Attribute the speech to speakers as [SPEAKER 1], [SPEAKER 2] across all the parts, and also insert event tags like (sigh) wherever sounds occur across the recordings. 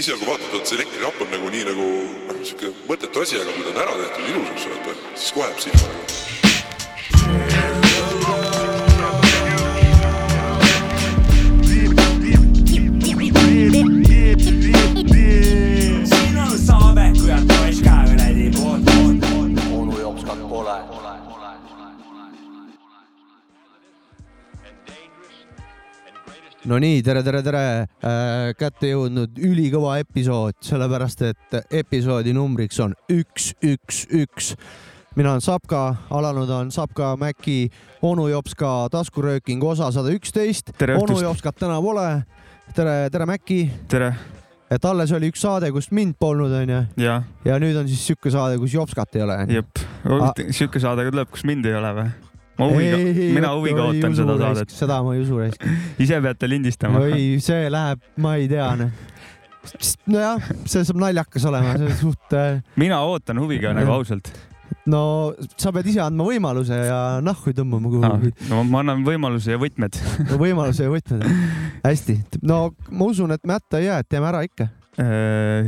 [SPEAKER 1] esialgu vaadates elektrihapp on nagu nii nagu noh, niisugune mõttetu asi , aga kui ta on ära tehtud ilusaks , vaata , siis kohe jääb silma nagu .
[SPEAKER 2] sinu saame , kui on poiss ka kuradi pood , pood , pood .
[SPEAKER 3] onu jopskat pole .
[SPEAKER 4] no nii , tere , tere , tere äh, . kätte jõudnud ülikõva episood , sellepärast et episoodi numbriks on üks , üks , üks . mina olen Sapka , alanud on Sapka Mäki onu Jopska taskurööking osa sada üksteist .
[SPEAKER 5] Tere õhtust!
[SPEAKER 4] onu Jopskat täna pole . tere , tere Mäki ,
[SPEAKER 5] tere ,
[SPEAKER 4] et alles oli üks saade , kus mind polnud , onju ,
[SPEAKER 5] jaa ,
[SPEAKER 4] ja nüüd on siis siuke saade , kus Jopskat ei ole , onju .
[SPEAKER 5] jep .
[SPEAKER 4] Ah.
[SPEAKER 5] sihuke saade ka tuleb , kus mind ei ole või ? ma huviga , mina huviga ootan seda saadet .
[SPEAKER 4] seda ma ei usu raisk .
[SPEAKER 5] ise peate lindistama .
[SPEAKER 4] oi , see läheb , ma ei tea , noh . nojah , see saab naljakas olema , selles suht ,
[SPEAKER 5] mina ootan huviga nagu ausalt .
[SPEAKER 4] no sa pead ise andma võimaluse ja nahku tõmbama kuhugi ah. ,
[SPEAKER 5] no ma annan võimaluse ja võtmed .
[SPEAKER 4] võimaluse ja võtmed . hästi , no ma usun , et me hätta ei jää , et teeme ära ikka .
[SPEAKER 5] Äh,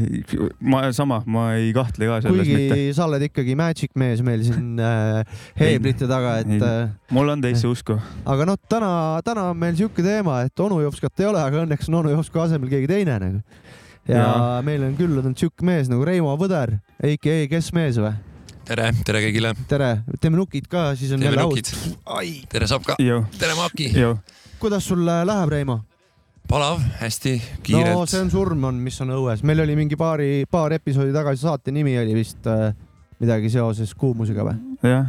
[SPEAKER 5] ma sama , ma ei kahtle ka selles
[SPEAKER 4] kuigi
[SPEAKER 5] mitte .
[SPEAKER 4] sa oled ikkagi magic mees meil siin äh, heeblite taga ,
[SPEAKER 5] Ei.
[SPEAKER 4] et äh,
[SPEAKER 5] mul on teisse usku .
[SPEAKER 4] aga noh , täna , täna on meil siuke teema , et onu Jopskat ei ole , aga õnneks on onu Jopska asemel keegi teine nagu . ja, ja.
[SPEAKER 5] Jaa.
[SPEAKER 4] meil on külla tulnud siuke mees nagu Reimo Võder , EKE Kes mees või ?
[SPEAKER 6] tere , tere kõigile .
[SPEAKER 4] tere , teeme nukid ka , siis on
[SPEAKER 6] teeme
[SPEAKER 4] jälle
[SPEAKER 6] nukid
[SPEAKER 4] aus .,
[SPEAKER 6] tere Sapka ,
[SPEAKER 5] jõu ,
[SPEAKER 6] tere Maki .
[SPEAKER 5] jõu .
[SPEAKER 4] kuidas sul äh, läheb , Reimo ?
[SPEAKER 6] palav , hästi ,
[SPEAKER 4] no see
[SPEAKER 6] kiirelt .
[SPEAKER 4] on surm on , mis on õues , meil oli mingi paari , paar episoodi tagasi saate nimi oli vist äh, midagi seoses kuumusega või ?
[SPEAKER 5] jah ,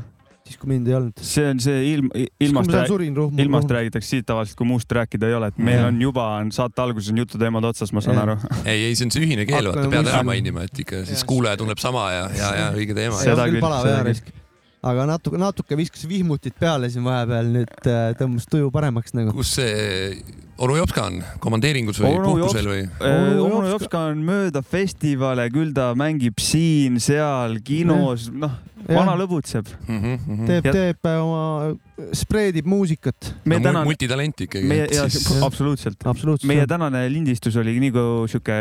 [SPEAKER 4] siis kui mind ei olnud .
[SPEAKER 5] see on see ilm , ilmast rääk- ilmast räägitakse siit tavaliselt , kui muust rääkida ei ole , et meil
[SPEAKER 4] Jah.
[SPEAKER 5] on juba on saate alguses on jututeemad otsas , ma saan
[SPEAKER 4] Jah.
[SPEAKER 5] aru .
[SPEAKER 6] ei , ei , see on see ühine keel , vaata ,
[SPEAKER 4] Hakkame
[SPEAKER 6] pead ära
[SPEAKER 4] mõistma.
[SPEAKER 6] mainima , et ikka siis
[SPEAKER 4] Jah.
[SPEAKER 6] kuulaja tunneb sama ja , ja ,
[SPEAKER 4] (laughs)
[SPEAKER 6] ja õige teema .
[SPEAKER 5] See- seda küll, seda küll.
[SPEAKER 4] rääkis . aga natuke , natuke viskas vihmutit peale siin vahepeal , nüüd äh, tõmbas tuju paremaks nagu .
[SPEAKER 6] kus see onu Jopska on , komandeeringus või
[SPEAKER 5] Onu Jops-
[SPEAKER 6] puhkusel või ?
[SPEAKER 4] Onu
[SPEAKER 5] Onu
[SPEAKER 4] Jopska-
[SPEAKER 5] Äh, Jopska on mööda festivale , küll ta mängib siin-seal kinos , noh , vana lõbutseb .
[SPEAKER 6] Mhm,
[SPEAKER 4] teeb ,
[SPEAKER 5] ja-
[SPEAKER 4] teeb äh, oma , spreedib muusikat .
[SPEAKER 5] meie
[SPEAKER 6] no,
[SPEAKER 5] tänane ,
[SPEAKER 6] multitalent ikkagi .
[SPEAKER 5] meie , jaa ,
[SPEAKER 4] jah.
[SPEAKER 5] absoluutselt . meie
[SPEAKER 4] absoluutselt ,
[SPEAKER 5] tänane lindistus oli nagu sihuke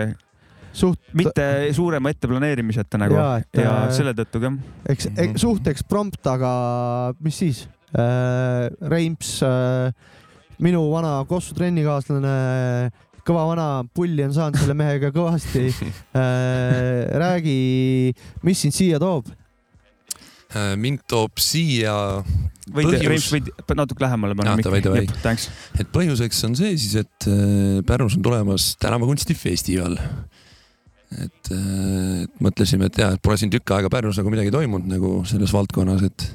[SPEAKER 4] suht ,
[SPEAKER 5] mitte suurema etteplaneerimiseta nagu
[SPEAKER 4] Jaa,
[SPEAKER 5] ja,
[SPEAKER 4] et,
[SPEAKER 5] ja
[SPEAKER 4] äh,
[SPEAKER 5] selle tõttu ka .
[SPEAKER 4] eks e
[SPEAKER 6] Mhm.
[SPEAKER 4] suht eksprompt , aga mis siis äh, ? Reims äh, , minu vana Kossu trennikaaslane , kõva vana pulli on saanud selle mehega
[SPEAKER 6] (laughs)
[SPEAKER 4] kõvasti äh, . räägi , mis sind siia toob ?
[SPEAKER 6] äh, mind toob siia ,
[SPEAKER 5] võid ,
[SPEAKER 6] põhjus-
[SPEAKER 5] Reims , võid natuke lähemale panna
[SPEAKER 6] Jaa, davai, davai.
[SPEAKER 5] Jep, thanks .
[SPEAKER 6] et põhjuseks on see siis , et äh, Pärnus on tulemas tänavakunstifestival . et , et mõtlesime , et jaa , et pole siin tükk aega Pärnus nagu midagi toimunud nagu selles valdkonnas , et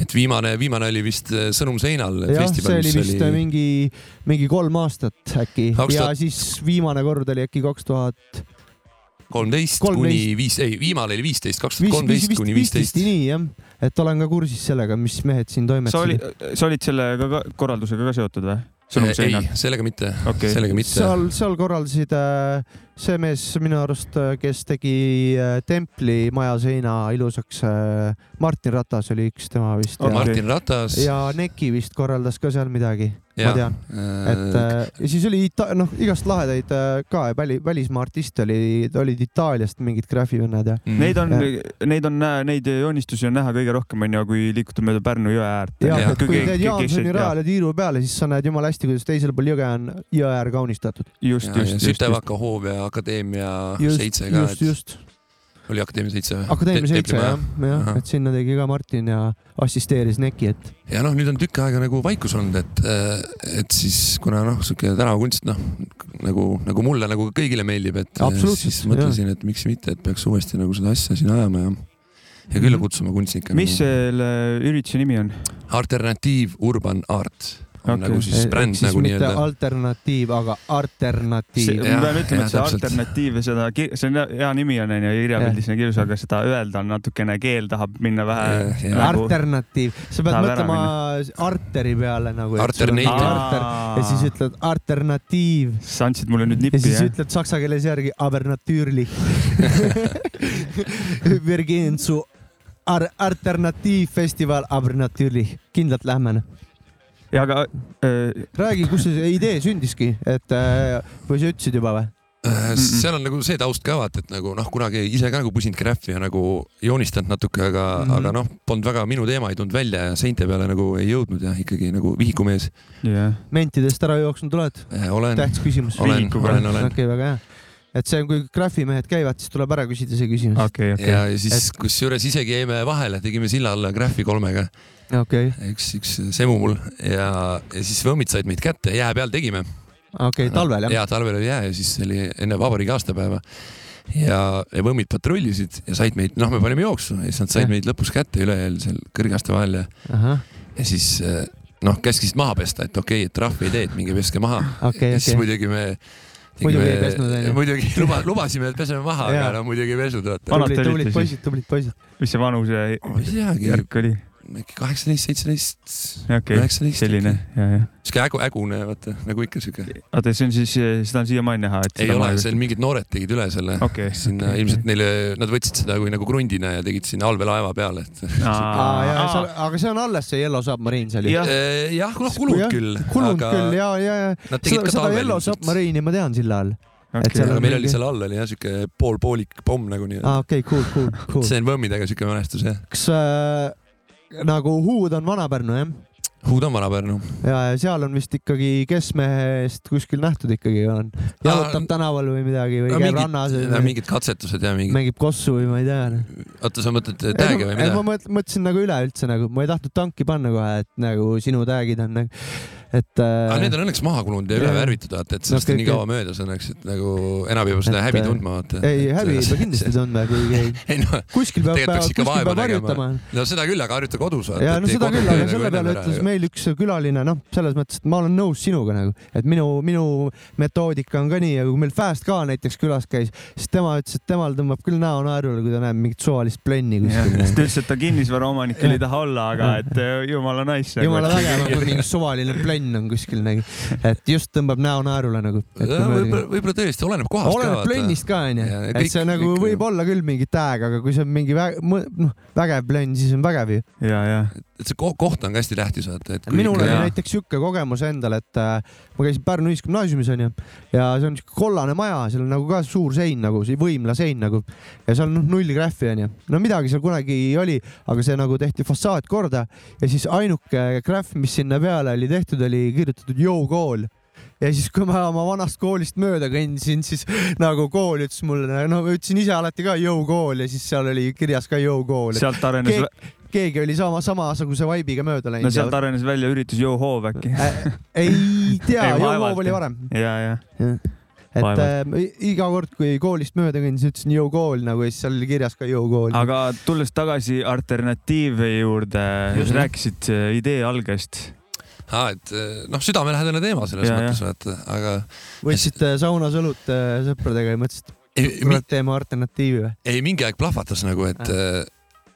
[SPEAKER 6] et viimane , viimane oli vist äh, Sõnum seinal
[SPEAKER 4] jah , see
[SPEAKER 6] festival ,
[SPEAKER 4] oli
[SPEAKER 6] mis
[SPEAKER 4] vist oli...
[SPEAKER 6] oli
[SPEAKER 4] mingi , mingi kolm aastat äkki
[SPEAKER 6] 2000
[SPEAKER 4] ja siis viimane kord oli äkki kaks tuhat
[SPEAKER 6] kolmteist kuni
[SPEAKER 4] kolmteist.
[SPEAKER 6] viis , ei , viimane oli viisteist , kaks tuhat kolmteist
[SPEAKER 4] viisteist ,
[SPEAKER 6] kuni
[SPEAKER 4] viisteist ,
[SPEAKER 6] viisteist .
[SPEAKER 4] nii jah , et olen ka kursis sellega , mis mehed siin
[SPEAKER 5] sa olid
[SPEAKER 4] toimetasid .,
[SPEAKER 5] sa olid selle ka, ka, korraldusega ka seotud või ? sõnum
[SPEAKER 6] Äh, ei
[SPEAKER 5] seinal ?,
[SPEAKER 6] sellega mitte okay. ,
[SPEAKER 5] Okei.
[SPEAKER 6] sellega mitte .
[SPEAKER 4] seal , seal korraldasid äh, see mees minu arust , kes tegi äh, templi maja seina ilusaks äh, , Martin Ratas oli üks tema vist
[SPEAKER 5] Okei.
[SPEAKER 4] ja,
[SPEAKER 6] Oh,
[SPEAKER 5] Mart-
[SPEAKER 6] Martin Ratas
[SPEAKER 4] ja Neki vist korraldas ka seal midagi , ma
[SPEAKER 6] ja
[SPEAKER 4] tean , et äh, ja siis oli Ita- , noh , igast lahedaid äh, ka väli , välismaa artiste oli , olid Itaaliast mingid graffivennad ja ,
[SPEAKER 6] mm.
[SPEAKER 5] Neid on
[SPEAKER 4] Jah. ,
[SPEAKER 5] neid on , neid joonistusi on näha kõige rohkem onju , kui liikuda mööda Pärnu jõe äärt .
[SPEAKER 4] ja
[SPEAKER 6] Jah,
[SPEAKER 4] et kui teed Jaansoni rajale tiiru peale , siis sa näed jumala hästi , kuidas teisel pool jõge on jõe äär kaunistatud .
[SPEAKER 5] just , just , just , just .
[SPEAKER 6] Sütevaka hoov ja Akadeemia
[SPEAKER 4] just ,
[SPEAKER 6] Ah, seitse ka ,
[SPEAKER 4] just ,
[SPEAKER 6] et
[SPEAKER 4] just
[SPEAKER 6] oli Akadeemia seitse või ?
[SPEAKER 4] Akadeemia seitse jah , jah ,
[SPEAKER 6] Ahah.
[SPEAKER 4] et sinna tegi ka Martin ja assisteeris Neki , et
[SPEAKER 6] ja noh , nüüd on tükk aega nagu vaikus olnud , et , et siis kuna noh , sihuke tänavakunst noh , nagu , nagu mulle nagu kõigile meeldib , et
[SPEAKER 4] Absoluutselt,
[SPEAKER 6] siis mõtlesin , et miks mitte , et peaks uuesti nagu seda asja siin ajama ja ja külla
[SPEAKER 5] Mhm.
[SPEAKER 6] kutsuma kunstnikke . nagu
[SPEAKER 5] mis selle ürituse nimi on ?
[SPEAKER 6] alternatiiv urban art on
[SPEAKER 5] Okei.
[SPEAKER 6] okay. nagu siis
[SPEAKER 4] ehk E,
[SPEAKER 6] bränd
[SPEAKER 4] eh, siis
[SPEAKER 6] nagu
[SPEAKER 4] mitte
[SPEAKER 6] nii-öelda .
[SPEAKER 4] alternatiiv , aga
[SPEAKER 5] see ,
[SPEAKER 4] alternatiiv .
[SPEAKER 5] ma
[SPEAKER 6] Jah,
[SPEAKER 5] pean ütlema ,
[SPEAKER 6] jah,
[SPEAKER 5] et see
[SPEAKER 6] täpselt.
[SPEAKER 5] alternatiiv ja seda , see on hea nimi on onju , kirjapildis on kirjus , aga seda öelda on natukene , keel tahab minna
[SPEAKER 6] Jah,
[SPEAKER 5] vähe
[SPEAKER 6] jah.
[SPEAKER 5] nagu .
[SPEAKER 4] alternatiiv , sa pead
[SPEAKER 5] Tahab ära
[SPEAKER 4] mõtlema arteri peale nagu .
[SPEAKER 6] Alternative.
[SPEAKER 4] ja siis ütled alternatiiv
[SPEAKER 5] sa andsid mulle nüüd
[SPEAKER 4] ja
[SPEAKER 5] nippi
[SPEAKER 4] siis
[SPEAKER 5] jah ?
[SPEAKER 4] ütled saksa keeles järgi
[SPEAKER 6] (laughs)
[SPEAKER 4] abernatürli . Virgin su ar- , alternatiivfestival abernatürli , kindlalt lähme .
[SPEAKER 5] ja aga äh,
[SPEAKER 4] räägi , kus see idee sündiski , et äh, või eh, sa ütlesid juba või ?
[SPEAKER 6] seal on nagu see taust ka vaata , et nagu noh , kunagi ise ka nagu pusinud graffi ja nagu joonistanud natuke , aga mm ,
[SPEAKER 4] Mhm.
[SPEAKER 6] -hmm. aga noh , polnud väga minu teema ei tulnud välja ja seinte peale nagu ei jõudnud ja ikkagi nagu vihikumees
[SPEAKER 5] jah .
[SPEAKER 4] mentidest ära jooksnud oled ?
[SPEAKER 6] eh, olen ,
[SPEAKER 4] tähtis küsimus .
[SPEAKER 6] olen ,
[SPEAKER 5] vihikuga.
[SPEAKER 6] olen , olen
[SPEAKER 4] okei , väga hea . et see on , kui graafimehed käivad , siis tuleb ära küsida see küsimus .
[SPEAKER 5] okei , okei
[SPEAKER 6] ja . siis kusjuures isegi jäime vahele , tegime silla alla graffi kolmega ,
[SPEAKER 4] okei ,
[SPEAKER 6] üks , üks semu mul ja , ja siis võmmid said meid kätte , jää peal tegime .
[SPEAKER 4] okei , talvel jah ?
[SPEAKER 6] jaa , talvel oli jää ja siis oli enne vabariigi aastapäeva . ja , ja võmmid patrullisid ja said meid , noh , me panime jooksu ja siis nad said
[SPEAKER 4] Jah.
[SPEAKER 6] meid lõpus kätte üleööl seal kõrgaste vahel ja ,
[SPEAKER 4] ahah ,
[SPEAKER 6] ja siis eh, noh , käskisid maha pesta , et okei okay, , et trahvi ei tee , et minge peske maha .
[SPEAKER 4] okei ,
[SPEAKER 6] ja siis
[SPEAKER 4] okei .
[SPEAKER 6] muidugi me
[SPEAKER 4] Muidugi ei pesnud, on ju.
[SPEAKER 6] muidugi luba , lubasime , et peseme maha ,
[SPEAKER 4] Jaa.
[SPEAKER 6] aga no muidugi ei pesnud , vaata .
[SPEAKER 5] Vanad
[SPEAKER 4] tublid ,
[SPEAKER 5] te olite
[SPEAKER 4] tublid
[SPEAKER 5] siis?
[SPEAKER 4] poisid , tublid poisid .
[SPEAKER 5] mis see vanuse
[SPEAKER 6] ma ei teagi ,
[SPEAKER 5] järk oli ?
[SPEAKER 6] äkki kaheksateist , seitseteist ,
[SPEAKER 5] okei ,
[SPEAKER 6] üheksateist .
[SPEAKER 5] selline , ja , ja .
[SPEAKER 6] sihuke ägu , ägune , vaata nagu ikka sihuke .
[SPEAKER 5] oota , see on siis , seda on siiamaani näha , et
[SPEAKER 6] ei
[SPEAKER 5] seda
[SPEAKER 6] ole ,
[SPEAKER 5] maha-
[SPEAKER 6] seal mingid noored tegid üle selle . (laughs)
[SPEAKER 5] okei .
[SPEAKER 6] sinna ilmselt . neile , nad võtsid seda kui nagu krundina ja tegid sinna allveelaeva peale , et . Ah.
[SPEAKER 5] aa ,
[SPEAKER 4] aga see on alles see Yellow Submarine seal ju .
[SPEAKER 5] jah ,
[SPEAKER 6] jah , noh kulunud
[SPEAKER 4] Jah,
[SPEAKER 6] küll .
[SPEAKER 4] kulunud küll ja , ja , ja .
[SPEAKER 6] Nad tegid
[SPEAKER 4] seda
[SPEAKER 6] ka
[SPEAKER 4] seda
[SPEAKER 6] talvel
[SPEAKER 4] Yellow
[SPEAKER 6] ilmselt .
[SPEAKER 4] Submarine'i ma tean silla all . et seal
[SPEAKER 6] aga
[SPEAKER 5] okei .
[SPEAKER 4] on-
[SPEAKER 6] meil oli
[SPEAKER 4] mingi-
[SPEAKER 6] seal all oli jah , sihuke poolpoolik pomm nagu nii-öelda .
[SPEAKER 4] aa , Ah, okei , cool , cool , cool .
[SPEAKER 6] see on võmmidega sihuke mälestus jah .
[SPEAKER 4] kas äh, nagu Huud on Vana-Pärnu jah ?
[SPEAKER 6] Huudo Vana-Pärnu .
[SPEAKER 4] ja , ja seal on vist ikkagi keskmehest kuskil nähtud ikkagi on . jalutab
[SPEAKER 6] Aa,
[SPEAKER 4] tänaval või midagi või
[SPEAKER 6] Ah. no
[SPEAKER 4] käib
[SPEAKER 6] mingid-
[SPEAKER 4] rannas
[SPEAKER 6] Need on
[SPEAKER 4] või
[SPEAKER 6] mingid katsetused ja mingid ,
[SPEAKER 4] mängib kossu või ma ei tea .
[SPEAKER 6] oota , sa mõtled tag'e või mida
[SPEAKER 4] ma ? mõt- mõtlesin nagu üleüldse nagu , ma ei tahtnud tanki panna kohe , et nagu sinu tag'id on nagu , et
[SPEAKER 6] aga
[SPEAKER 4] äh,
[SPEAKER 6] need Ah, on õnneks maha kulunud ja üle
[SPEAKER 4] Jah.
[SPEAKER 6] värvitud , vaata , et sellest
[SPEAKER 4] Okei,
[SPEAKER 6] on nii
[SPEAKER 4] okei.
[SPEAKER 6] kaua möödas õnneks , et nagu enam ei pea seda
[SPEAKER 4] Et,
[SPEAKER 6] häbi
[SPEAKER 4] äh,
[SPEAKER 6] tundma , vaata .
[SPEAKER 4] ei häbi , ma kindlasti ei tundnud , kui ei-
[SPEAKER 6] (laughs) ei noh ,
[SPEAKER 4] kuskil peab ,
[SPEAKER 6] Tegelikult peaks
[SPEAKER 4] kuskil
[SPEAKER 6] ikka vaeva
[SPEAKER 4] peab
[SPEAKER 6] nägema.
[SPEAKER 4] harjutama
[SPEAKER 6] no seda küll , aga harjuta kodus .
[SPEAKER 4] ja no seda küll ,
[SPEAKER 6] nagu
[SPEAKER 4] aga selle peale ütles meil üks külaline , noh , selles mõttes , et ma olen nõus sinuga nagu , et minu , minu metoodika on ka nii ja kui meil Fast ka näiteks külas käis , siis tema ütles , et temal tõmbab küll näo naerule , kui ta näeb mingit suvalist plenni kuskil
[SPEAKER 5] siis
[SPEAKER 4] nagu.
[SPEAKER 5] ta . ütles , et ta kinnisvaraomanik küll ei taha olla , aga et eh, jumala nice .
[SPEAKER 4] jumala vägev , kui mingi suvaline plenn on kuskil nagu , et just tõmbab näo naerule nagu .
[SPEAKER 6] võib-olla , võib-olla tõesti , oleneb kohast
[SPEAKER 4] oleneb plennist ka onju
[SPEAKER 6] Ja, , ja kõik-
[SPEAKER 4] et see nagu
[SPEAKER 6] kõik-
[SPEAKER 4] võib olla küll mingi tag , aga kui see on mingi vä- , noh , vägev plenn , siis on vägev ju .
[SPEAKER 5] ja , ja ,
[SPEAKER 6] et see ko- koht on ka hästi tähtis , vaata , et kui
[SPEAKER 4] minul oli
[SPEAKER 5] jaa.
[SPEAKER 4] näiteks sihuke kogemus endal , et äh, ma käisin Pärnu Ühisgümnaasiumis onju ja see on siuke kollane maja , seal on nagu ka suur sein nagu , see võimla sein nagu ja seal on null graffi onju . no midagi seal kunagi oli , aga see nagu tehti fassaad korda ja siis ainuke graff , mis sinna peale oli tehtud , oli kirjutatud Yo kool ja siis , kui ma oma vanast koolist mööda kõndisin , siis nagu kool ütles mulle , no ma ütlesin ise alati ka Yo kool ja siis seal oli kirjas ka Yo kool ,
[SPEAKER 5] sealt arenes ,
[SPEAKER 4] Keegi- et keegi oli sama , samasuguse vibe'iga mööda läinud
[SPEAKER 5] no . sealt arenes välja üritus Yo Hoov äkli .
[SPEAKER 4] Äh, ei tea ,
[SPEAKER 5] Ei,
[SPEAKER 4] jõuhoov
[SPEAKER 5] vaevalt,
[SPEAKER 4] oli
[SPEAKER 5] jah.
[SPEAKER 4] varem .
[SPEAKER 5] ja , ja ,
[SPEAKER 4] et äh,
[SPEAKER 5] Vaevalt.
[SPEAKER 4] iga kord , kui koolist mööda kõndisin , ütlesin jõukool nagu ja siis seal oli kirjas ka jõukool .
[SPEAKER 5] aga tulles tagasi alternatiive juurde , rääkisid eh, idee algest .
[SPEAKER 6] aa , et eh, noh , südamelähedane teema selles
[SPEAKER 5] Jaa,
[SPEAKER 6] mõttes , vaata , aga
[SPEAKER 4] võtsite saunas õlut äh, sõpradega ja mõtlesite ,
[SPEAKER 6] ei, mi-
[SPEAKER 4] kurat , teeme alternatiivi või ?
[SPEAKER 6] ei mingi aeg plahvatas nagu , et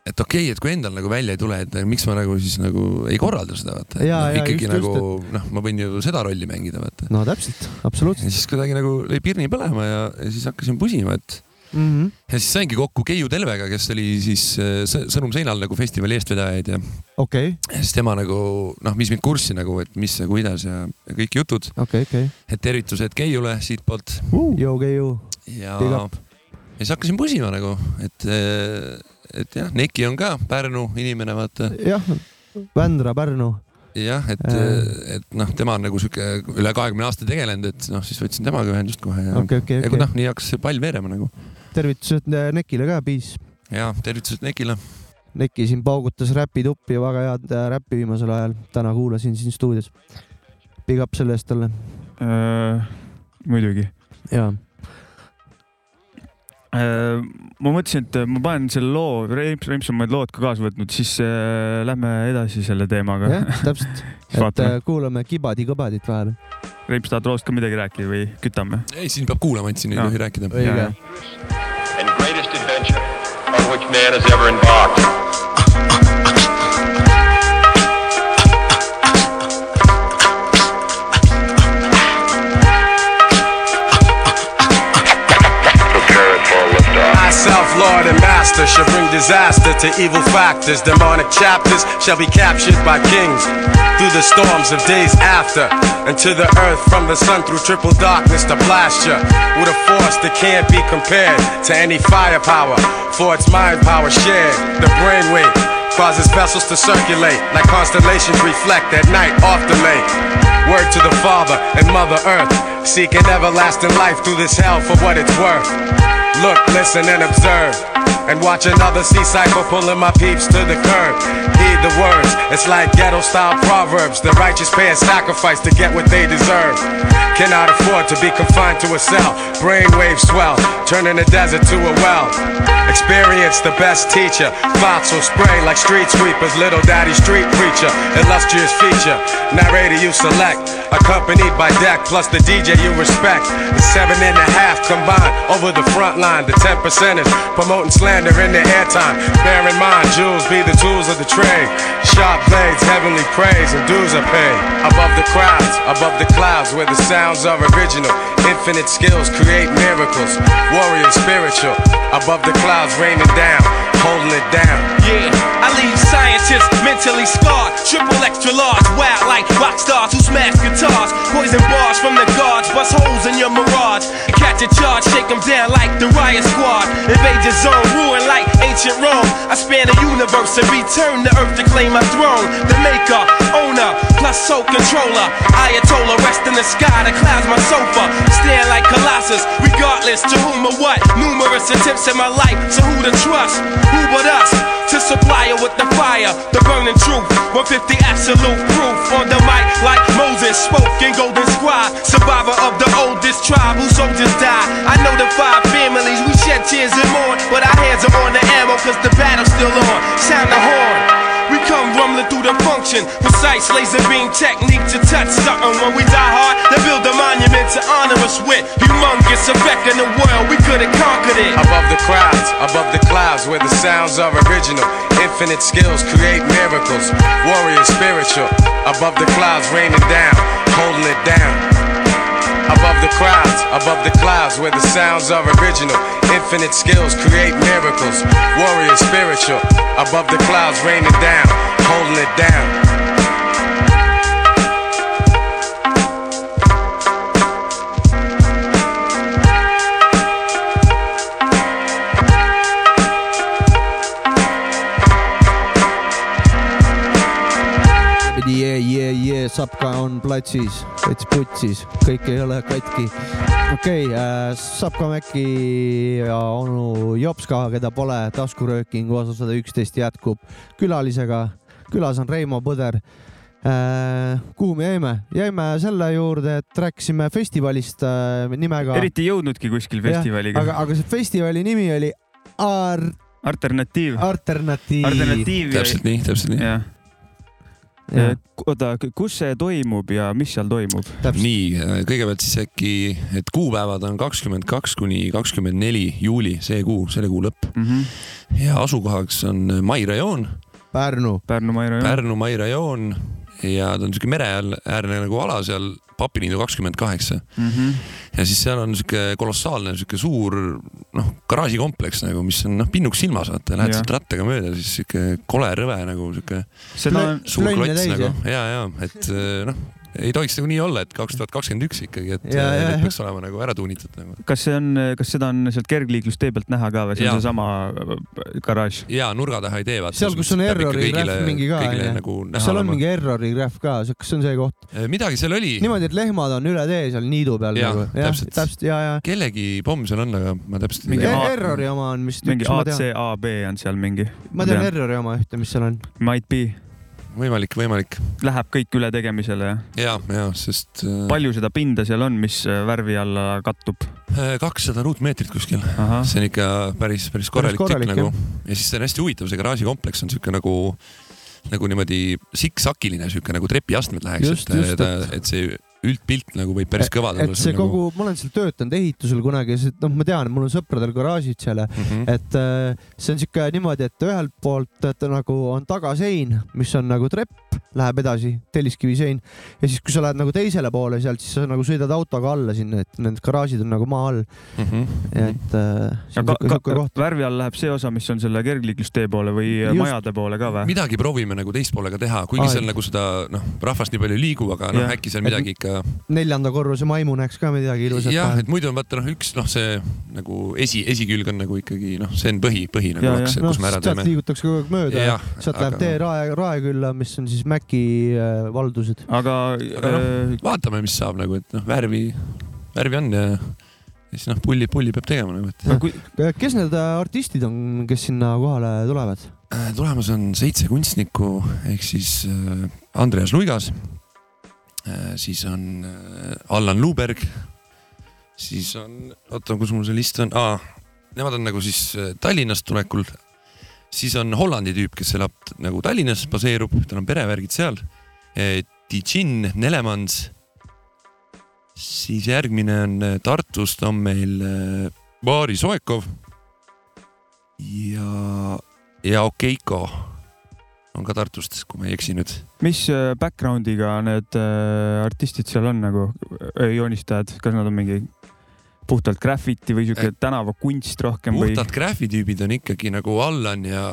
[SPEAKER 6] et okei okay, , et kui endal nagu välja ei tule , et miks ma nagu siis nagu ei korralda seda , vaata .
[SPEAKER 4] Jaa, jaa,
[SPEAKER 6] ikkagi
[SPEAKER 4] just,
[SPEAKER 6] nagu noh , ma võin ju seda rolli mängida , vaata .
[SPEAKER 4] no täpselt ,
[SPEAKER 6] ja
[SPEAKER 4] absoluutselt
[SPEAKER 6] siis kuidagi nagu lõi pirni põlema ja, ja siis hakkasin pusima , et
[SPEAKER 4] mm . -hmm.
[SPEAKER 6] ja siis saingi kokku Keiu Telvega , kes oli siis eh, Sõ- Sõnum seinal nagu festivali eestvedajaid ja
[SPEAKER 4] okei ,
[SPEAKER 6] ja siis tema nagu noh , mis mind kurssi nagu , et mis ja kuidas ja, ja kõik jutud ,
[SPEAKER 4] okei , okei .
[SPEAKER 6] et tervitused Keiule siitpoolt
[SPEAKER 4] jõu , keiu .
[SPEAKER 6] ja ,
[SPEAKER 4] Big
[SPEAKER 6] ja
[SPEAKER 4] up.
[SPEAKER 6] siis hakkasin pusima nagu , et , et jah , Neki on ka Pärnu inimene , vaata
[SPEAKER 4] jah , Vändra , Pärnu .
[SPEAKER 6] jah , et ,
[SPEAKER 4] Äh.
[SPEAKER 6] et noh , tema on nagu sihuke üle kahekümne aasta tegelenud , et noh , siis võtsin temaga ühendust kohe ja okay, ,
[SPEAKER 4] okei , okei ,
[SPEAKER 6] okay. ja kui
[SPEAKER 4] okei .
[SPEAKER 6] noh , nii hakkas see pall veerema nagu
[SPEAKER 4] tervitused äh, Nekile ka , peace .
[SPEAKER 6] ja tervitused Nekile .
[SPEAKER 4] Neki siin paugutas räpituppi , väga head äh, räppi viimasel ajal . täna kuulasin siin stuudios . Big up selle eest talle .
[SPEAKER 5] muidugi .
[SPEAKER 4] jaa
[SPEAKER 5] Äh, ma mõtlesin , et äh, ma panen selle loo , Reims , Reims on meil lood ka kaasa võtnud , siis eh, lähme edasi selle teemaga .
[SPEAKER 4] jah , täpselt ,
[SPEAKER 5] Siis
[SPEAKER 4] et
[SPEAKER 5] vaatame.
[SPEAKER 4] äh, kuulame kibadi-kõbadit vahel .
[SPEAKER 5] Reims tahab loost ka midagi rääkida või kütame ?
[SPEAKER 6] ei , siin peab kuulama , et siin ei
[SPEAKER 5] Jah.
[SPEAKER 6] tohi rääkida .
[SPEAKER 4] õige
[SPEAKER 5] Jaa. .
[SPEAKER 2] and greatest adventure on which man has ever embarked.
[SPEAKER 3] Prepare it for liftoff. Thyself, Lord and Master, shall bring disaster to evil factors. Demonic chapters shall be captured by kings through the storms of days after. And to the earth from the sun through triple darkness to plaster with a force that can't be compared to any firepower, for its mind power shared, the brainwave. Causes vessels to circulate like constellations reflect at night off the lake. Word to the Father and Mother Earth. Seek an everlasting life through this hell for what it's worth. Look, listen, and observe. And watch another sea cycle pulling my peeps to the curb. Heed the words, it's like ghetto style proverbs. The righteous pay a sacrifice to get what they deserve. Cannot afford to be confined to a cell. Brainwave swell, turning the desert to a well. Experience the best teacher. Thoughts will spray like street sweepers. Little daddy street preacher, illustrious feature. Narrator you select, accompanied by deck plus the DJ you respect. The seven and a half combined over the front line. The ten percenters promoting slander in their airtime. Bear in mind, jewels be the tools of the trade. Sharp blades, heavenly praise, and dues are paid. Above the crowds, above the clouds, where the sounds are original. Infinite skills create miracles. Warrior spiritual, above the clouds, raining down, holding it down.
[SPEAKER 2] Yeah, I leave scientists mentally scarred. Triple extra large, wild like rock stars who smash guitars. Poison bars from the guards, bust holes in your mirage. Catch a charge, shake them down like the riot squad. Invade your zone, ruin like ancient Rome. I span the universe and return to earth to claim my throne. The maker, owner, plus soul controller. Ayatollah, rest in the sky, the clouds my sofa. Stand like Colossus, regardless to whom or what. Numerous attempts in my life, so who to trust? Who but us? To supply her with the fire, the burning truth. 150 absolute proof on the mic, like Moses spoke in Golden Scribe. Survivor of the oldest tribe whose soldiers die. I know the five families, we shed tears and mourn. But our hands are on the ammo, cause the battle's still on. Sound the horn. We come rumbling through the function. Precise laser beam technique to touch something. When we die hard, they build a monument to honor us with. Humongous effect in the world, we could have conquered it.
[SPEAKER 3] Above the crowds, above the clouds, where the sounds are original. Infinite skills create miracles. Warrior spiritual, above the clouds, raining down, holding it down. Above the crowds, above the clouds, where the sounds are original. Infinite skills create miracles. Warrior spiritual, above the clouds, raining down, holding it down.
[SPEAKER 4] jee , jee , jee , Sapka on platsis , täitsa putsis , kõik ei ole katki . okei okay, äh, , Sapka Mäkki ja onu Jopska , keda pole , taskuröökingu osa sada üksteist jätkub külalisega . külas on Reimo Põder äh, . kuhu me jäime ? jäime selle juurde , et rääkisime festivalist äh, nimega .
[SPEAKER 5] eriti ei jõudnudki kuskil festivaliga .
[SPEAKER 4] aga , aga see festivali nimi oli Ar
[SPEAKER 5] alternatiiv ,
[SPEAKER 4] alternatiiv .
[SPEAKER 5] alternatiiv .
[SPEAKER 6] täpselt nii , täpselt nii .
[SPEAKER 5] jah . oota , kus see toimub ja mis seal toimub ?
[SPEAKER 4] täpselt ,
[SPEAKER 6] nii , kõigepealt siis äkki , et kuupäevad on kakskümmend kaks kuni kakskümmend neli juuli , see kuu , selle kuu lõpp
[SPEAKER 5] Mhm.
[SPEAKER 6] ja asukohaks on Mai rajoon ,
[SPEAKER 4] Pärnu .
[SPEAKER 5] Pärnu Mairo jah .
[SPEAKER 6] Pärnu Mai rajoon ja ta on siuke mere all äärne nagu ala seal , Papiliidu kakskümmend kaheksa
[SPEAKER 5] mhm.
[SPEAKER 6] ja siis seal on siuke kolossaalne siuke suur noh , garaažikompleks nagu , mis on noh , pinnuks silmas vaata , lähed
[SPEAKER 5] Jah.
[SPEAKER 6] sealt rattaga mööda , siis siuke kole rõve nagu siuke
[SPEAKER 5] seda on ,
[SPEAKER 6] suur
[SPEAKER 4] Plönne
[SPEAKER 6] klots
[SPEAKER 4] täis,
[SPEAKER 6] nagu ja , ja et eh, noh , ei tohiks nagu nii olla , et kaks tuhat kakskümmend üks ikkagi , et
[SPEAKER 4] Ja, ja,
[SPEAKER 6] eh,
[SPEAKER 4] jah.
[SPEAKER 6] need peaks olema nagu ära tuunitud nagu .
[SPEAKER 5] kas see on , kas seda on sealt kergliiklustee pealt näha ka või see
[SPEAKER 6] Jaa.
[SPEAKER 5] on seesama äh, garaaž ?
[SPEAKER 6] ja nurga taha ei tee vaata .
[SPEAKER 4] seal , kus on errori rehv mingi ka ,
[SPEAKER 6] kõigile
[SPEAKER 4] onju .
[SPEAKER 6] nagu
[SPEAKER 4] kas
[SPEAKER 6] näha
[SPEAKER 4] seal on
[SPEAKER 6] olema Äh,
[SPEAKER 4] mingi . errori rehv ka , kas see on see koht ?
[SPEAKER 6] midagi seal oli ,
[SPEAKER 4] niimoodi , et lehmad on üle tee seal niidu peal
[SPEAKER 6] Jah,
[SPEAKER 4] nagu . jah ,
[SPEAKER 6] täpselt.
[SPEAKER 4] täpselt ja , ja .
[SPEAKER 6] kellegi pomm seal on , aga ma täpselt ei
[SPEAKER 5] Mingi
[SPEAKER 6] tea .
[SPEAKER 5] A-
[SPEAKER 4] Errori oma on vist
[SPEAKER 5] mingi
[SPEAKER 4] üks , ma tean .
[SPEAKER 5] ACAB on seal mingi .
[SPEAKER 4] ma tean . Errori oma ühte , mis seal on .
[SPEAKER 5] Might be ,
[SPEAKER 6] võimalik , võimalik
[SPEAKER 5] läheb kõik ületegemisele jah .
[SPEAKER 6] ja , ja sest äh,
[SPEAKER 5] palju seda pinda seal on , mis äh, värvi alla kattub ?
[SPEAKER 6] äh, kakssada ruutmeetrit kuskil ,
[SPEAKER 5] ahah ,
[SPEAKER 6] see on ikka päris , päris korralik tükk
[SPEAKER 4] korralik,
[SPEAKER 6] nagu ja siis see on hästi huvitav , see garaažikompleks on siuke nagu nagu niimoodi siksakiline siuke nagu trepiastmed läheks ,
[SPEAKER 4] Just,
[SPEAKER 6] et
[SPEAKER 4] just, ,
[SPEAKER 6] et see üldpilt nagu võib päris kõva tulla. nagu-
[SPEAKER 4] et see kogu , ma olen seal töötanud ehitusel kunagi , noh , ma tean , mul on sõpradel garaažid seal ja
[SPEAKER 6] nagu... .
[SPEAKER 4] et äh, see on sihuke niimoodi , et ühelt poolt et nagu on tagasein , mis on nagu trepp , läheb edasi , telliskivisein ja siis , kui sa lähed nagu teisele poole sealt , siis sa nagu sõidad autoga alla sinna , et need garaažid on nagu maa all ,
[SPEAKER 6] Mhm.
[SPEAKER 4] et äh, see on sihuke sihuke koht .
[SPEAKER 5] värvi all läheb see osa , mis on selle kergliiklustee poole või
[SPEAKER 4] Just.
[SPEAKER 5] Just. majade poole ka või ?
[SPEAKER 6] midagi proovime nagu teistpoole ka teha , kuigi
[SPEAKER 4] Aa,
[SPEAKER 6] seal nagu seda noh , rahvast nii palju ei liigu , aga noh ,
[SPEAKER 5] Jah.
[SPEAKER 6] äkki seal midagi ikka
[SPEAKER 4] neljanda korruse maimu näeks ka midagi ilusat .
[SPEAKER 6] jah , et muidu on vaata noh , üks noh , see nagu esi , esikülg on nagu ikkagi noh , see on põhi , põhi nagu
[SPEAKER 5] Jaa,
[SPEAKER 6] oleks ,
[SPEAKER 4] noh ,
[SPEAKER 6] kus me ära
[SPEAKER 4] sealt
[SPEAKER 6] teeme .
[SPEAKER 4] liigutakse kogu aeg mööda ja
[SPEAKER 6] Jah,
[SPEAKER 4] sealt
[SPEAKER 6] aga
[SPEAKER 4] läheb tee
[SPEAKER 6] noh.
[SPEAKER 4] Rae , Raekülla , mis on siis Mäki äh, valdused .
[SPEAKER 5] aga,
[SPEAKER 6] Aga
[SPEAKER 5] aga
[SPEAKER 6] noh,
[SPEAKER 5] äh,
[SPEAKER 6] vaatame , mis saab nagu , et noh , värvi , värvi on ja ja siis noh , pulli , pulli peab tegema nagu , et
[SPEAKER 5] no, kui,
[SPEAKER 4] kes need äh, artistid on , kes sinna kohale tulevad ?
[SPEAKER 6] Äh, tulemas on seitse kunstnikku ehk siis äh, Andreas Luigas , siis on äh, Allan Luuberg , siis on , oota , kus mul see list on ah, , nemad on nagu siis äh, Tallinnast tulekul , siis on Hollandi tüüp , kes elab t- nagu Tallinnas , baseerub , tal on perevärgid seal , Tijin Nelemans , siis järgmine on äh, Tartust on meil äh, Vaari Soekov ja ja Okeiko on ka Tartust , kui ma ei eksi nüüd .
[SPEAKER 5] mis äh, background'iga need äh, artistid seal on nagu äh, joonistajad , kas nad on mingi puhtalt graffiti või
[SPEAKER 6] Äh,
[SPEAKER 5] siuke tänavakunst rohkem või ?
[SPEAKER 6] puhtad graafi tüübid on ikkagi nagu Allan ja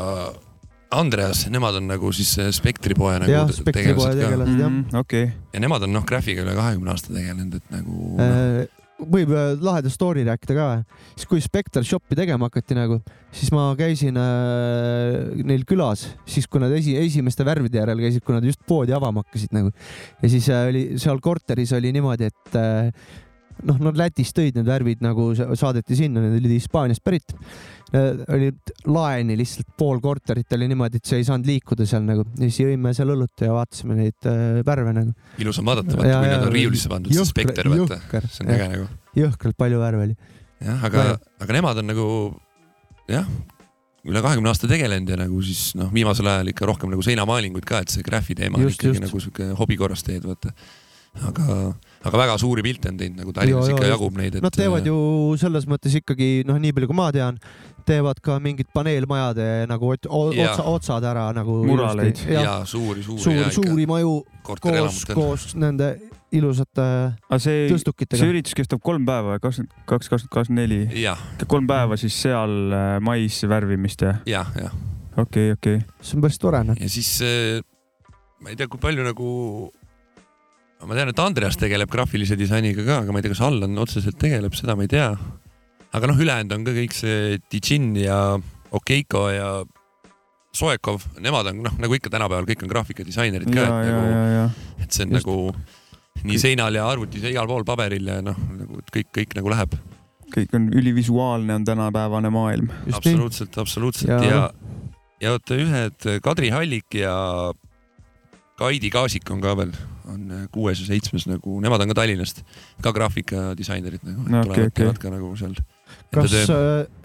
[SPEAKER 6] Andreas , nemad on nagu siis see Spektri poe nagu
[SPEAKER 4] jah ,
[SPEAKER 6] te-
[SPEAKER 4] spektripoe
[SPEAKER 6] tegelased ka .
[SPEAKER 4] tegelased jah .
[SPEAKER 5] Mm. okei ,
[SPEAKER 6] ja nemad on noh , graafiga üle kahekümne aasta tegelenud , et nagu noh,
[SPEAKER 4] Eh, võib eh, laheda story rääkida ka , siis kui Spectre Shopi tegema hakati nagu , siis ma käisin äh, neil külas , siis kui nad esi , esimeste värvide järel käisid , kui nad just poodi avama hakkasid nagu ja siis äh, oli seal korteris oli niimoodi , et äh, noh , nad Lätist tõid need värvid nagu sa- saadeti sinna , need olid Hispaaniast pärit . olid laeni lihtsalt pool korterit oli niimoodi , et sa ei saanud liikuda seal nagu ja siis jõime seal õlut ja vaatasime neid äh, värve nagu .
[SPEAKER 6] ilus on vaadata , vaata
[SPEAKER 4] jaa,
[SPEAKER 6] kui
[SPEAKER 4] jaa,
[SPEAKER 6] nad on riiulisse pandud , see Spekter , vaata , see on äge nagu .
[SPEAKER 4] jõhkralt palju värve oli .
[SPEAKER 6] jah , aga
[SPEAKER 4] Väga. ,
[SPEAKER 6] aga nemad on nagu jah , üle kahekümne aasta tegelenud ja nagu siis noh , viimasel ajal ikka rohkem nagu seinamaalinguid ka , et see graafi teema on
[SPEAKER 4] Just,
[SPEAKER 6] ikkagi
[SPEAKER 4] just.
[SPEAKER 6] nagu sihuke hobi korras teed , vaata . aga , aga väga suuri pilte on teinud nagu Tallinnas
[SPEAKER 4] Joo,
[SPEAKER 6] ikka
[SPEAKER 4] joo,
[SPEAKER 6] jagub neid , et . äh,
[SPEAKER 4] Nad teevad ju selles mõttes ikkagi noh , nii palju kui ma tean , teevad ka mingid paneelmajade nagu ot- o-
[SPEAKER 6] Jaa.
[SPEAKER 4] otsa , otsad ära nagu .
[SPEAKER 5] Muraleid.
[SPEAKER 6] ja,
[SPEAKER 4] jah ,
[SPEAKER 6] ja äh, suuri , suuri
[SPEAKER 4] suuri ,
[SPEAKER 6] ja
[SPEAKER 4] suuri maju
[SPEAKER 6] ikka
[SPEAKER 4] koos ,
[SPEAKER 6] korterelamut on .
[SPEAKER 4] koos nende ilusate
[SPEAKER 5] aga see , see
[SPEAKER 4] tõstukitega .
[SPEAKER 5] üritus kestab kolm päeva , kakskümmend kaks , kakskümmend kaks , neli ,
[SPEAKER 6] jah ,
[SPEAKER 5] kolm päeva siis seal äh, mais värvimist ja
[SPEAKER 6] jah , jah ,
[SPEAKER 5] okei okay, , okei okay. .
[SPEAKER 4] see on päris tore noh .
[SPEAKER 6] ja siis eh, ma ei tea , kui palju nagu , ma tean , et Andreas tegeleb graafilise disainiga ka , aga ma ei tea , kas Allan otseselt tegeleb , seda ma ei tea . aga noh , ülejäänud on ka kõik see Dijin ja Okeiko ja Soekov , nemad on noh , nagu ikka tänapäeval kõik on graafikadisainerid ka ,
[SPEAKER 5] ja ,
[SPEAKER 6] et
[SPEAKER 5] ja ,
[SPEAKER 6] nagu ,
[SPEAKER 5] ja , ja
[SPEAKER 6] et see on
[SPEAKER 5] Just.
[SPEAKER 6] nagu nii seinal ja arvutis ja igal pool paberil ja noh , nagu et kõik , kõik nagu läheb .
[SPEAKER 5] kõik on ülivisuaalne , on tänapäevane maailm .
[SPEAKER 4] just nii .
[SPEAKER 6] absoluutselt , absoluutselt
[SPEAKER 4] Ja-
[SPEAKER 6] ja , ja , ja oota ühed Kadri Hallik ja Kaidi Kaasik on ka veel , on äh, kuues ja seitsmes nagu , nemad on ka Tallinnast , ka graafikadisainerid nagu no, ,
[SPEAKER 5] No okei,
[SPEAKER 6] tulevad
[SPEAKER 5] okei.
[SPEAKER 6] okay, , teevad ka nagu seal .
[SPEAKER 4] kas äh,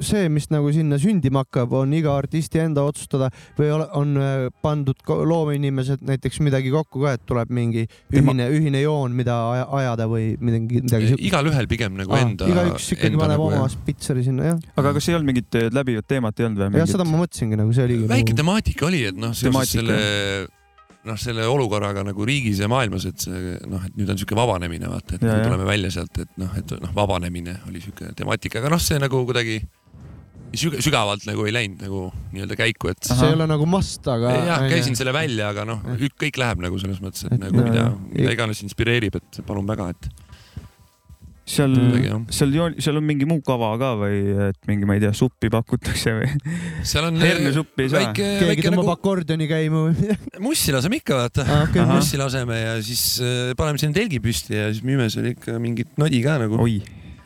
[SPEAKER 4] see , mis nagu sinna sündima hakkab , on iga artisti enda otsustada või ole- on äh, pandud ko- loomeinimesed näiteks midagi kokku ka , et tuleb mingi
[SPEAKER 5] Tema-
[SPEAKER 4] ühine , ühine joon , mida aja- ajada või midagi , midagi siukest ?
[SPEAKER 6] igalühel pigem nagu
[SPEAKER 4] Aa,
[SPEAKER 6] enda . nagu,
[SPEAKER 4] igaüks ikkagi paneb oma spitseri sinna , jah .
[SPEAKER 5] aga kas ei olnud mingit eh, läbivat teemat ei olnud või
[SPEAKER 4] jah , seda
[SPEAKER 5] mingit ?
[SPEAKER 4] ma mõtlesingi nagu see oligi .
[SPEAKER 6] väike temaatika oli , et noh , seoses
[SPEAKER 5] Temaatika.
[SPEAKER 6] selle noh , selle olukorraga nagu riigis ja maailmas , et see noh , et nüüd on sihuke vabanemine , vaata , et
[SPEAKER 5] Ja,
[SPEAKER 6] ja,
[SPEAKER 5] ja.
[SPEAKER 6] tuleme välja sealt , et noh , et noh , vabanemine oli sihuke temaatika , aga noh , see nagu kuidagi süg- sügavalt nagu ei läinud nagu nii-öelda käiku , et
[SPEAKER 4] see ei ole nagu must ,
[SPEAKER 5] Noh,
[SPEAKER 4] aga .
[SPEAKER 6] jah , käisin . selle välja , aga noh , kõik läheb nagu selles mõttes , et
[SPEAKER 4] Et
[SPEAKER 6] nagu
[SPEAKER 5] jah,
[SPEAKER 6] mida
[SPEAKER 5] jah. ,
[SPEAKER 6] mida iganes inspireerib , et palun väga , et
[SPEAKER 5] seal
[SPEAKER 6] midagi jah .
[SPEAKER 5] seal joon- , seal on mingi muu kava ka või et mingi , ma ei tea , suppi pakutakse või
[SPEAKER 6] seal on
[SPEAKER 5] hernesuppi ei saa ?
[SPEAKER 6] väike ,
[SPEAKER 4] keegi
[SPEAKER 6] väike
[SPEAKER 4] tõmbab
[SPEAKER 6] nagu
[SPEAKER 4] nagu... akordioni käima või
[SPEAKER 6] (laughs)
[SPEAKER 4] midagi .
[SPEAKER 6] mussi laseme ikka vaata .
[SPEAKER 4] okei ,
[SPEAKER 5] Ahah.
[SPEAKER 4] mis
[SPEAKER 6] mussi laseme ja siis äh, paneme sinna telgi püsti ja siis müüme seal ikka mingit nodi ka nagu .
[SPEAKER 5] oi ,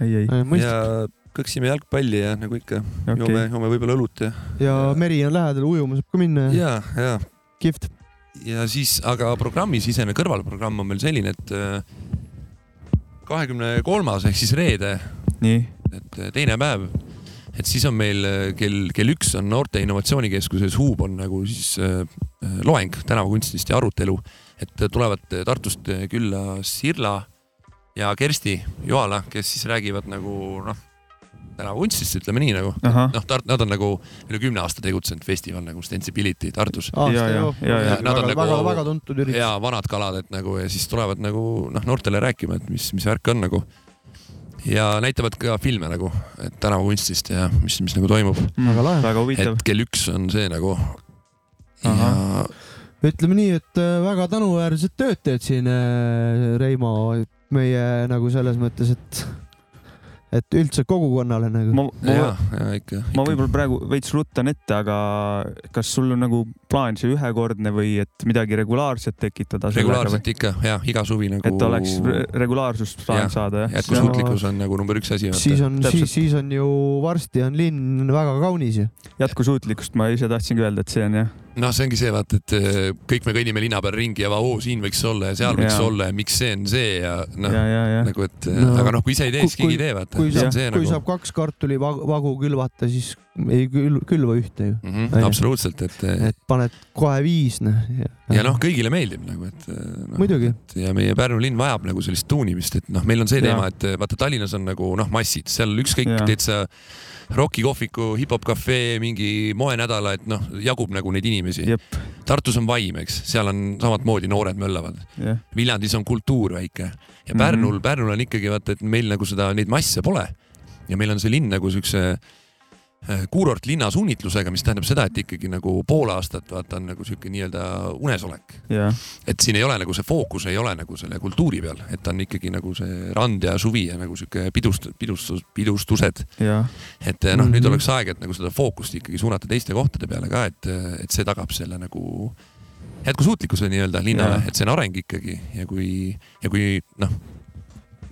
[SPEAKER 5] ei , ei ,
[SPEAKER 4] mõistlik .
[SPEAKER 6] ja kõksime jalgpalli ja nagu ikka okay. joome
[SPEAKER 5] okei ,.
[SPEAKER 6] joome võib-olla õlut ja ,
[SPEAKER 4] ja meri on lähedal , ujuma saab ka minna ja
[SPEAKER 6] ja , ja ,
[SPEAKER 4] kihvt .
[SPEAKER 6] ja siis , aga programmi sisene kõrvalprogramm on meil selline , et äh, kahekümne kolmas ehk siis reede ,
[SPEAKER 5] nii ,
[SPEAKER 6] et äh, teine päev , et siis on meil äh, kell , kell üks on Noorte Innovatsioonikeskuses Huub on nagu siis äh, äh, loeng tänavakunstist ja arutelu , et tulevad äh, Tartust äh, külla Sirla ja Kersti Joala , kes siis räägivad nagu noh , tänavakunstist , ütleme nii nagu .
[SPEAKER 5] ahah ,
[SPEAKER 6] noh , Tart- , nad on nagu üle kümne aasta tegutsenud festival nagu Stensibility Tartus .
[SPEAKER 5] ja, ja, ja, ja.
[SPEAKER 6] Nad on
[SPEAKER 4] väga,
[SPEAKER 6] nagu-
[SPEAKER 4] väga, väga tuntud üritus .
[SPEAKER 6] ja vanad kalad , et nagu ja siis tulevad nagu noh , noortele rääkima , et mis , mis värk on nagu . ja näitavad ka filme nagu , et tänavakunstist ja mis , mis nagu toimub .
[SPEAKER 4] Väga lahe.
[SPEAKER 5] väga huvitav
[SPEAKER 6] et . kell üks on see nagu . ja
[SPEAKER 5] Ahah.
[SPEAKER 4] ütleme nii , et äh, väga tänuväärset tööd teed siin , Reimo , meie nagu selles mõttes , et , et üldse kogukonnale nagu .
[SPEAKER 5] ma , ma ,
[SPEAKER 6] ja , ja ikka .
[SPEAKER 5] ma võib-olla praegu veits ruttan ette , aga kas sul on nagu plaan see ühekordne või et midagi regulaarset tekitada ?
[SPEAKER 6] regulaarselt ikka ja iga suvi nagu .
[SPEAKER 5] et oleks re- regulaarsust
[SPEAKER 6] Jah,
[SPEAKER 5] plaan saada , jah ?
[SPEAKER 6] jätkusuutlikkus on nagu number üks asi .
[SPEAKER 4] siis on ,
[SPEAKER 5] täpselt.
[SPEAKER 4] siis , siis on ju varsti on linn väga kaunis ju .
[SPEAKER 5] nagu jätkusuutlikkust ma ise tahtsingi öelda , et see on jah ,
[SPEAKER 6] noh , see ongi see , vaata , et eh, kõik me kõnnime linna peal ringi ja vau , siin võiks olla ja seal võiks
[SPEAKER 5] Jaa.
[SPEAKER 6] olla ja miks see on see ja noh
[SPEAKER 5] ja , ja , ja
[SPEAKER 6] nagu et
[SPEAKER 4] No.
[SPEAKER 6] no. , aga noh , kui ise ei tee , siis
[SPEAKER 4] Kui-
[SPEAKER 6] keegi ei tee , vaata .
[SPEAKER 4] kui
[SPEAKER 6] see
[SPEAKER 4] saab
[SPEAKER 6] on , see
[SPEAKER 4] kui nagu...
[SPEAKER 6] nagu
[SPEAKER 4] saab kaks kartulivagu külvata , siis ei kül- , külva ühte ju .
[SPEAKER 6] mm
[SPEAKER 4] on
[SPEAKER 6] -hmm,
[SPEAKER 4] ju.
[SPEAKER 6] absoluutselt , et eh,
[SPEAKER 4] et paned kohe viis , noh .
[SPEAKER 6] ja noh , kõigile meeldib nagu , et eh, noh ,
[SPEAKER 4] muidugi ,
[SPEAKER 6] ja meie Pärnu linn vajab nagu sellist tuunimist , et noh , meil on see
[SPEAKER 5] Jaa.
[SPEAKER 6] teema , et eh, vaata Tallinnas on nagu noh , massid , seal ükskõik
[SPEAKER 5] Jaa.
[SPEAKER 6] teed sa rokikohviku , hip-hop cafe , mingi moenädala , et noh , jagub nagu neid inimesi .
[SPEAKER 5] jep ,
[SPEAKER 6] Tartus on vaim , eks , seal on samamoodi noored möllavad .
[SPEAKER 5] jah ,
[SPEAKER 6] Viljandis on kultuur väike ja Pärnul mm , -hmm. Pärnul on ikkagi vaata , et meil nagu seda , neid masse pole . ja meil on see linn nagu siukse äh, kuurortlinna suunitlusega , mis tähendab seda , et ikkagi nagu pool aastat vaata on nagu siuke nii-öelda unesolek .
[SPEAKER 5] jah .
[SPEAKER 6] et siin ei ole nagu see fookus ei ole nagu selle kultuuri peal , et on ikkagi nagu see rand ja suvi ja nagu siuke pidust- , pidustus , pidustused .
[SPEAKER 5] ja ,
[SPEAKER 6] et eh, noh mm , -hmm. nüüd
[SPEAKER 4] Mhm.
[SPEAKER 6] oleks aeg , et nagu seda fookust ikkagi suunata teiste kohtade peale ka , et , et see tagab selle nagu jätkusuutlikkuse nii-öelda linnale ,
[SPEAKER 5] Jaa.
[SPEAKER 6] et see on areng ikkagi ja kui , ja kui noh ,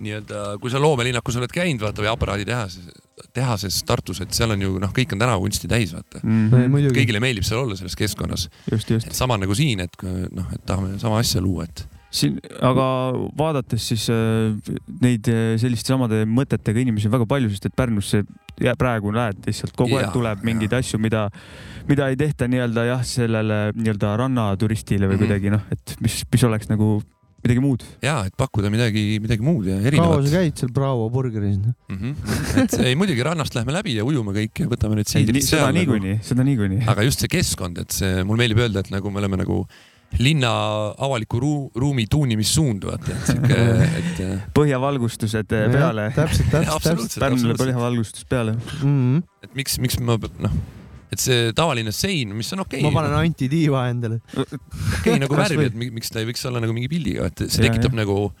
[SPEAKER 6] nii-öelda , kui sa loomelinnakus oled käinud , vaata või aparaaditehases , tehases Tartus , et seal on ju noh , kõik on tänavakunsti täis , vaata .
[SPEAKER 4] muidugi .
[SPEAKER 6] kõigile meeldib seal olla selles keskkonnas ,
[SPEAKER 5] Mhm. just , just .
[SPEAKER 6] et sama nagu siin , et kui- noh , et tahame sama asja luua , et
[SPEAKER 5] siin , aga vaadates siis äh, neid äh, selliste samade mõtetega inimesi on väga palju , sest et Pärnusse ja praegu näed lihtsalt kogu aeg
[SPEAKER 6] Jaa,
[SPEAKER 5] tuleb mingeid asju , mida , mida ei tehta nii-öelda jah , sellele nii-öelda rannaturistile või
[SPEAKER 6] Mhm.
[SPEAKER 5] kuidagi noh , et mis , mis oleks nagu midagi muud .
[SPEAKER 6] ja et pakkuda midagi , midagi muud ja
[SPEAKER 4] kaua sa
[SPEAKER 6] erinevat .
[SPEAKER 4] käid seal Bravo burgeris ? noh?
[SPEAKER 6] Mm -hmm. et ei , muidugi rannast lähme läbi ja ujume kõik ja võtame need siidrid
[SPEAKER 5] seda
[SPEAKER 6] seal nagu
[SPEAKER 5] niikuinii , seda niikuinii .
[SPEAKER 6] aga just see keskkond , et see , mul meeldib öelda , et nagu me oleme nagu linna avaliku ruu- , ruumi tuunimissuund , vaata , et sihuke ,
[SPEAKER 5] (laughs)
[SPEAKER 6] et
[SPEAKER 5] põhjavalgustused äh, peale .
[SPEAKER 4] täpselt , täpselt , Mm-hmm.
[SPEAKER 6] (laughs)
[SPEAKER 4] täpselt .
[SPEAKER 6] absoluutselt ,
[SPEAKER 5] Pärnule
[SPEAKER 6] absoluutselt ,
[SPEAKER 5] põhjavalgustus peale .
[SPEAKER 6] et miks , miks ma pe- noh , et see tavaline sein , mis on okei
[SPEAKER 4] ma
[SPEAKER 6] okay, ,
[SPEAKER 4] panen antitiiva endale .
[SPEAKER 5] (laughs)
[SPEAKER 6] okei nagu
[SPEAKER 5] kas
[SPEAKER 6] värvi ,
[SPEAKER 5] või-
[SPEAKER 6] et mi- miks ta ei võiks olla nagu mingi pilliga , et see
[SPEAKER 5] Jaa,
[SPEAKER 6] tekitab nagu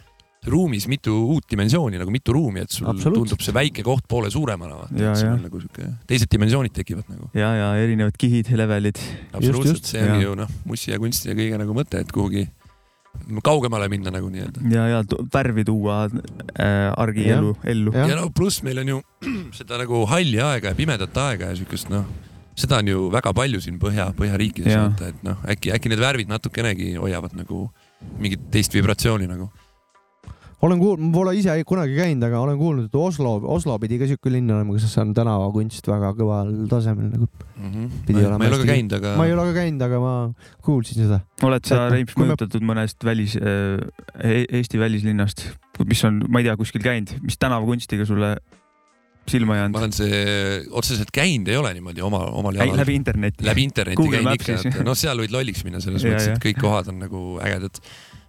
[SPEAKER 6] ruumis mitu uut dimensiooni nagu mitu ruumi , et sul
[SPEAKER 4] Absoluutselt.
[SPEAKER 6] tundub see väike koht poole suuremana , vaata ,
[SPEAKER 5] Jaa,
[SPEAKER 6] et sul
[SPEAKER 5] jaa.
[SPEAKER 6] on nagu sihuke , teised dimensioonid tekivad nagu .
[SPEAKER 5] ja , ja erinevad kihid , levelid .
[SPEAKER 6] absoluutselt ,
[SPEAKER 4] just,
[SPEAKER 6] see on
[SPEAKER 5] jaa.
[SPEAKER 6] ju noh , mussi ja kunsti ja kõige nagu mõte , et kuhugi kaugemale minna nagu nii-öelda .
[SPEAKER 5] ja , ja tu- värvi tuua äh, argielu , ellu .
[SPEAKER 4] Jah.
[SPEAKER 6] ja noh- no pluss meil on ju (clears throat) seda nagu halli aega ja pimedat aega ja siukest noh , seda on ju väga palju siin põhja , põhjariikides
[SPEAKER 5] Jaa.
[SPEAKER 6] vaata , et noh , äkki , äkki need värvid natukenegi hoiavad nagu mingit teist vibratsiooni nagu .
[SPEAKER 4] olen kuulnud , ma pole ise kunagi käinud , aga olen kuulnud , et Oslo , Oslo pidi ka siuke linn olema , kus on tänavakunst väga kõval tasemel nagu . Pidi
[SPEAKER 6] Mhm. ma ei-
[SPEAKER 4] olema
[SPEAKER 6] ma ei ole ka
[SPEAKER 4] hästi-
[SPEAKER 6] käinud , aga
[SPEAKER 4] ma ei ole ka käinud , aga ma kuulsin seda .
[SPEAKER 5] oled sa ,
[SPEAKER 4] Et noh,
[SPEAKER 5] Reims ,
[SPEAKER 4] kui me-
[SPEAKER 5] mõjutatud mõnest välis , Eesti välislinnast , mis on , ma ei tea , kuskil käinud , mis tänavakunstiga sulle silma
[SPEAKER 6] ma
[SPEAKER 5] jäänud ?
[SPEAKER 6] olen see otseselt käinud ei ole niimoodi oma , omal
[SPEAKER 5] ei ,
[SPEAKER 6] jalal .
[SPEAKER 5] läbi interneti .
[SPEAKER 6] läbi interneti
[SPEAKER 5] Google
[SPEAKER 6] käin
[SPEAKER 5] Maps
[SPEAKER 6] ikka
[SPEAKER 5] siis. ,
[SPEAKER 6] et noh , seal võid lolliks minna
[SPEAKER 4] (laughs)
[SPEAKER 6] selles
[SPEAKER 5] Ja,
[SPEAKER 6] mõttes ,
[SPEAKER 5] ja.
[SPEAKER 6] et kõik kohad on nagu ägedad .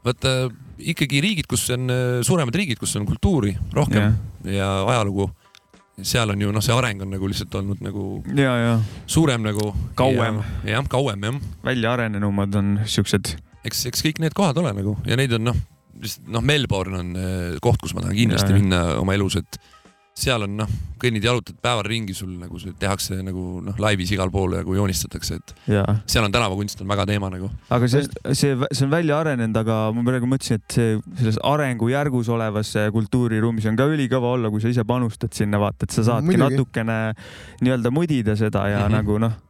[SPEAKER 6] vaata ikkagi riigid , kus on äh, suuremad riigid , kus on kultuuri rohkem ja, ja ajalugu , seal on ju noh , see areng on nagu lihtsalt olnud nagu
[SPEAKER 5] ja , ja
[SPEAKER 6] suurem nagu .
[SPEAKER 5] Kauem. .
[SPEAKER 6] jah , kauem jah ,
[SPEAKER 5] väljaarenenumad on siuksed .
[SPEAKER 6] eks , eks kõik need kohad ole nagu ja neid on noh , lihtsalt noh , Melbourne on äh, koht , kus ma tahan kindlasti
[SPEAKER 5] Ja,
[SPEAKER 6] ja,
[SPEAKER 5] ja.
[SPEAKER 6] minna oma elus , et seal on noh , kõnnid , jalutad päeval ringi , sul nagu see tehakse nagu noh , laivis igal pool nagu joonistatakse , et
[SPEAKER 5] ja ,
[SPEAKER 6] seal on tänavakunst on väga teema nagu .
[SPEAKER 5] aga see , see , see on välja arenenud , aga ma praegu mõtlesin , et see selles arengujärgus olevas äh, kultuuriruumis on ka ülikõva olla , kui sa ise panustad sinna , vaata , et sa saadki
[SPEAKER 4] Muidugi.
[SPEAKER 5] Muidugi. natukene nii-öelda mõdida seda ja mm
[SPEAKER 6] Mhm.
[SPEAKER 5] -hmm. nagu noh ,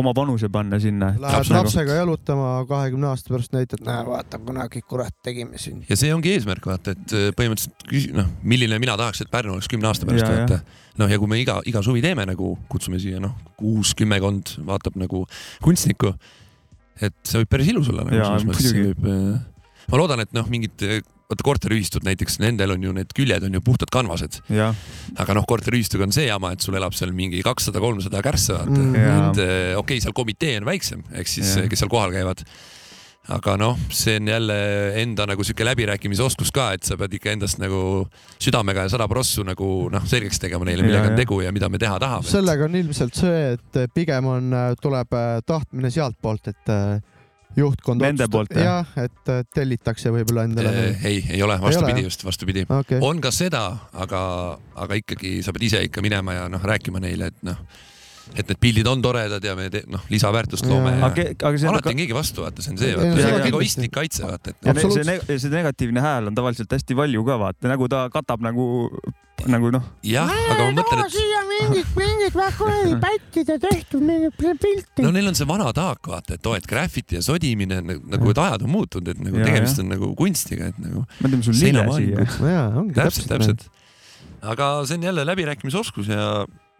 [SPEAKER 5] oma panuse panna sinna .
[SPEAKER 4] Lähed
[SPEAKER 6] nagu-
[SPEAKER 4] lapsega jalutama kahekümne aasta pärast näitad , näe , vaata kunagi kurat tegime siin .
[SPEAKER 6] ja see ongi eesmärk , vaata , et äh, põhimõtteliselt küsi- , noh , milline mina tahaks , et Pärnu oleks kümne aasta pärast ,
[SPEAKER 5] Ja, ja.
[SPEAKER 6] vaata . noh , ja kui me iga , iga suvi teeme nagu , kutsume siia noh , kuus , kümmekond vaatab nagu kunstnikku , et see võib päris ilus olla nagu
[SPEAKER 5] Jaa,
[SPEAKER 6] selles mõttes , see
[SPEAKER 5] muidugi.
[SPEAKER 6] võib äh, ma loodan , et noh , mingid äh, vaata korteriühistud näiteks , nendel on ju need küljed on ju puhtad kanvased ,
[SPEAKER 5] nagu. jah ,
[SPEAKER 6] aga noh , korteriühistuga on see jama , et sul elab seal mingi kakssada , kolmsada kärssa , vaata
[SPEAKER 4] Mm.
[SPEAKER 6] mm, .
[SPEAKER 5] Jaa.
[SPEAKER 6] et eh, okei okay, , seal komitee on väiksem , ehk siis
[SPEAKER 5] Jah.
[SPEAKER 6] yeah. kes seal kohal käivad . aga noh , see on jälle enda nagu sihuke läbirääkimisoskus ka , et sa pead ikka endast nagu südamega ja sada prossu nagu noh , selgeks tegema neile ,
[SPEAKER 5] Jaa,
[SPEAKER 6] millega on
[SPEAKER 5] jah.
[SPEAKER 6] tegu ja mida me teha tahame .
[SPEAKER 4] sellega on ilmselt see , et pigem on , tuleb äh, tahtmine sealtpoolt , et äh, juhtkond
[SPEAKER 5] Nende poolt, jah? Äh,
[SPEAKER 4] jah , et äh, tellitakse võib-olla endale .
[SPEAKER 6] eh, ei , ei ole ,
[SPEAKER 4] jah?
[SPEAKER 6] vastupidi , just vastupidi .
[SPEAKER 4] okei ,
[SPEAKER 6] on ka seda , aga , aga ikkagi sa pead ise ikka minema ja noh , rääkima neile , et noh , et need pildid on toredad ja me te- noh , lisaväärtust
[SPEAKER 4] Jaa.
[SPEAKER 6] loome ja,
[SPEAKER 5] aga ke- aga
[SPEAKER 6] ja
[SPEAKER 5] see
[SPEAKER 6] alati on keegi vastu , vaata , see on see ,
[SPEAKER 4] Ei,
[SPEAKER 5] no
[SPEAKER 6] vaata , see on
[SPEAKER 5] seda kindlasti.
[SPEAKER 6] egoistlik kaitse , vaata , et
[SPEAKER 5] ja ne-
[SPEAKER 6] noh,
[SPEAKER 5] see
[SPEAKER 4] Absoluutselt. ,
[SPEAKER 5] see negatiivne hääl on tavaliselt hästi valju ka vaata , nagu ta katab nagu , nagu noh ,
[SPEAKER 6] jah , aga ma mõtlen , et
[SPEAKER 7] siia mingit , mingit väga kuradi pättide tehtud mingit pilti
[SPEAKER 6] no . neil on see vana taak , vaata , et oo , et graffiti ja sodimine on nagu- nagu , et ajad on muutunud , et nagu
[SPEAKER 5] Jaa,
[SPEAKER 6] tegemist
[SPEAKER 5] jah.
[SPEAKER 6] on nagu kunstiga , et nagu
[SPEAKER 5] me teeme sulle lille siia .
[SPEAKER 6] seinamaalinguks .
[SPEAKER 4] jaa , ongi
[SPEAKER 6] täpselt , täpselt . aga see on jälle läbirääkimisoskus ja ,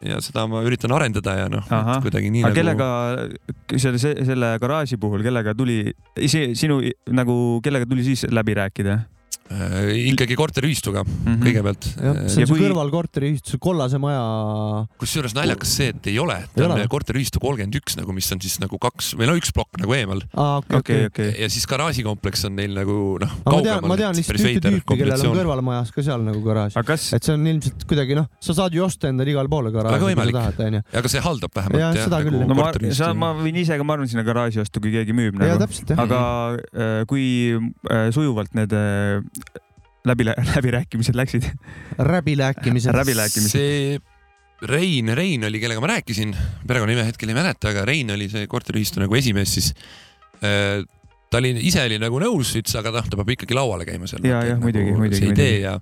[SPEAKER 6] ja seda ma üritan arendada ja noh
[SPEAKER 5] Ahah. ,
[SPEAKER 6] kuidagi nii
[SPEAKER 5] aga
[SPEAKER 6] nagu
[SPEAKER 5] kellega , selle , selle garaaži puhul , kellega tuli , see sinu nagu , kellega tuli siis läbi rääkida
[SPEAKER 6] äh, ikkagi korteriühistuga
[SPEAKER 5] mm ? -hmm.
[SPEAKER 6] Mhm. kõigepealt .
[SPEAKER 4] Mhm.
[SPEAKER 6] Äh,
[SPEAKER 4] jah , see
[SPEAKER 5] Ja
[SPEAKER 4] on see
[SPEAKER 5] kui-
[SPEAKER 4] kõrval korteriühistuse kollase maja
[SPEAKER 6] kusjuures naljakas see , et ei ole ,
[SPEAKER 4] Ei
[SPEAKER 6] ta on
[SPEAKER 4] ole.
[SPEAKER 6] korteriühistu kolmkümmend üks nagu , mis on siis nagu kaks või no üks plokk nagu eemal
[SPEAKER 4] ah, .
[SPEAKER 5] okei , okei .
[SPEAKER 6] ja siis garaažikompleks on neil nagu noh ,
[SPEAKER 4] aga ma tean ,
[SPEAKER 6] kaugemal .
[SPEAKER 4] ma tean lihtsalt ühte tüüpi , kellel on
[SPEAKER 6] kombinatsioon .
[SPEAKER 4] kõrvalmajas ka seal nagu garaaž .
[SPEAKER 5] aga kas ,
[SPEAKER 4] et see on ilmselt kuidagi noh , sa saad ju osta endale igale poole garaaži ,
[SPEAKER 6] Väga
[SPEAKER 4] kui sa
[SPEAKER 6] võimalik.
[SPEAKER 4] tahad , onju .
[SPEAKER 6] aga see haldab vähemalt
[SPEAKER 4] Jaa,
[SPEAKER 6] jah,
[SPEAKER 4] seda küll, jah.
[SPEAKER 5] no
[SPEAKER 6] nagu
[SPEAKER 5] ma ,
[SPEAKER 6] korteriühistu
[SPEAKER 5] sa , ma võin ise ka , ma arvan , sinna garaaži osta , kui keegi müüb
[SPEAKER 4] ja
[SPEAKER 5] nagu .
[SPEAKER 4] täpselt jah .
[SPEAKER 5] aga äh, kui äh, sujuvalt need äh, läbi , (laughs) läbirääkimised läksid ?
[SPEAKER 4] räbiläkimised .
[SPEAKER 5] läbirääkimised.
[SPEAKER 6] see Rein , Rein oli , kellega ma rääkisin , perekonnanime hetkel ei mäleta , aga Rein oli see korteriühistu nagu esimees siis . ta oli , ise oli nagu nõus , ütles , aga noh , ta peab ikkagi lauale käima seal .
[SPEAKER 5] Jaa, jah, muidugi, muidugi,
[SPEAKER 6] see
[SPEAKER 5] muidugi.
[SPEAKER 6] idee ja ,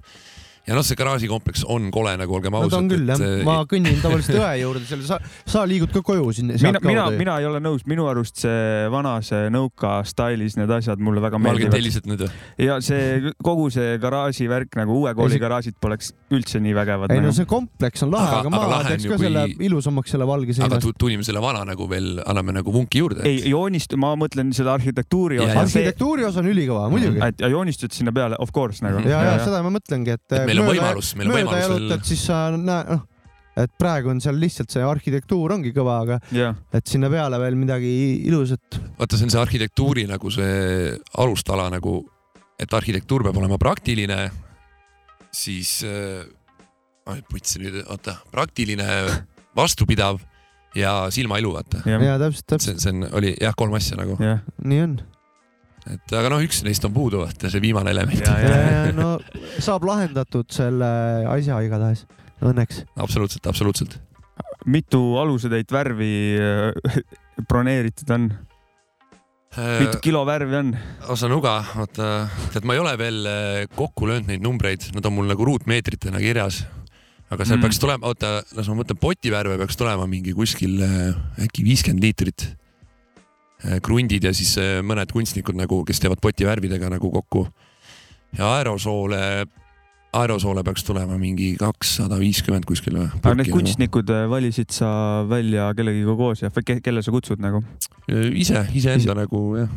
[SPEAKER 6] ja noh , see garaažikompleks on kole nagu , olgem
[SPEAKER 4] no ta on
[SPEAKER 6] ausad ,
[SPEAKER 4] küll jah
[SPEAKER 6] et ,
[SPEAKER 5] äh,
[SPEAKER 4] ma kõnnin tavaliselt õe juurde , selle sa , sa liigud ka koju sinna .
[SPEAKER 5] mina , mina , mina ei ole nõus , minu arust see vanas eh, nõuka stailis need asjad mulle väga
[SPEAKER 6] valged
[SPEAKER 5] meeldivad .
[SPEAKER 6] tellised nüüd või ?
[SPEAKER 5] ja see kogu see garaaži värk nagu uue kooli
[SPEAKER 4] Ei, see-
[SPEAKER 5] garaažid poleks üldse nii vägevad . nagu-
[SPEAKER 4] ei no see kompleks on lahe ,
[SPEAKER 6] Aga-
[SPEAKER 4] aga ma
[SPEAKER 6] aga lahe
[SPEAKER 4] teeks
[SPEAKER 6] on ju,
[SPEAKER 4] ka selle
[SPEAKER 6] kui-
[SPEAKER 4] ilusamaks selle valge seina
[SPEAKER 6] aga . tu- tulime selle vana nagu veel , anname nagu vunki juurde .
[SPEAKER 5] ei joonist- , ma mõtlen selle arhitektuuri
[SPEAKER 6] Jaa,
[SPEAKER 5] osa
[SPEAKER 6] jaa. .
[SPEAKER 4] arhitektuuri osa on ülikõva ,
[SPEAKER 6] Mm.
[SPEAKER 4] muidugi .
[SPEAKER 5] et ja joonistud sinna peale , of course nagu .
[SPEAKER 4] ja , ja seda ma mõtlengi , et .
[SPEAKER 6] Et meil on võimalus- meil on võimalus veel-
[SPEAKER 4] veel . siis sa näed , noh , et praegu on seal lihtsalt see arhitektuur ongi kõva , aga
[SPEAKER 5] jah ,
[SPEAKER 4] et sinna peale veel midagi ilusat .
[SPEAKER 6] vaata , see on see arhitektuuri nagu see alustala nagu , et arhitektuur peab olema praktiline , siis äh, , putsi nüüd , oota , praktiline , vastupidav ja silmailu , vaata .
[SPEAKER 5] jah ,
[SPEAKER 4] ja täpselt , täpselt
[SPEAKER 6] see , see on , oli jah , kolm asja nagu ,
[SPEAKER 5] jah .
[SPEAKER 4] nii on .
[SPEAKER 6] et aga noh , üks neist on puudu , vaata see viimane element ,
[SPEAKER 5] ja , ja ,
[SPEAKER 4] no saab lahendatud selle asja igatahes , õnneks .
[SPEAKER 6] absoluutselt , absoluutselt .
[SPEAKER 5] mitu alusetäit värvi äh, (laughs) broneeritud on ,
[SPEAKER 6] Äh,
[SPEAKER 5] mitu kilo värvi on ?
[SPEAKER 6] Osanuga , vaata , tead , ma ei ole veel äh, kokku löönud neid numbreid , nad on mul nagu ruutmeetritena kirjas . aga seal
[SPEAKER 5] Mm.
[SPEAKER 6] mm. peaks tulema , oota , las ma mõtlen , potivärve peaks tulema mingi kuskil äh, äkki viiskümmend liitrit . krundid ja siis äh, mõned kunstnikud nagu , kes teevad potivärvidega nagu kokku . ja aerosoole , aerosoole peaks tulema mingi kakssada viiskümmend kuskil või ? nagu.
[SPEAKER 5] aga need kunstnikud äh, valisid sa välja kellegiga koos ja ke, kelle sa kutsud nagu ?
[SPEAKER 6] Äh, ise , iseenda nagu jah .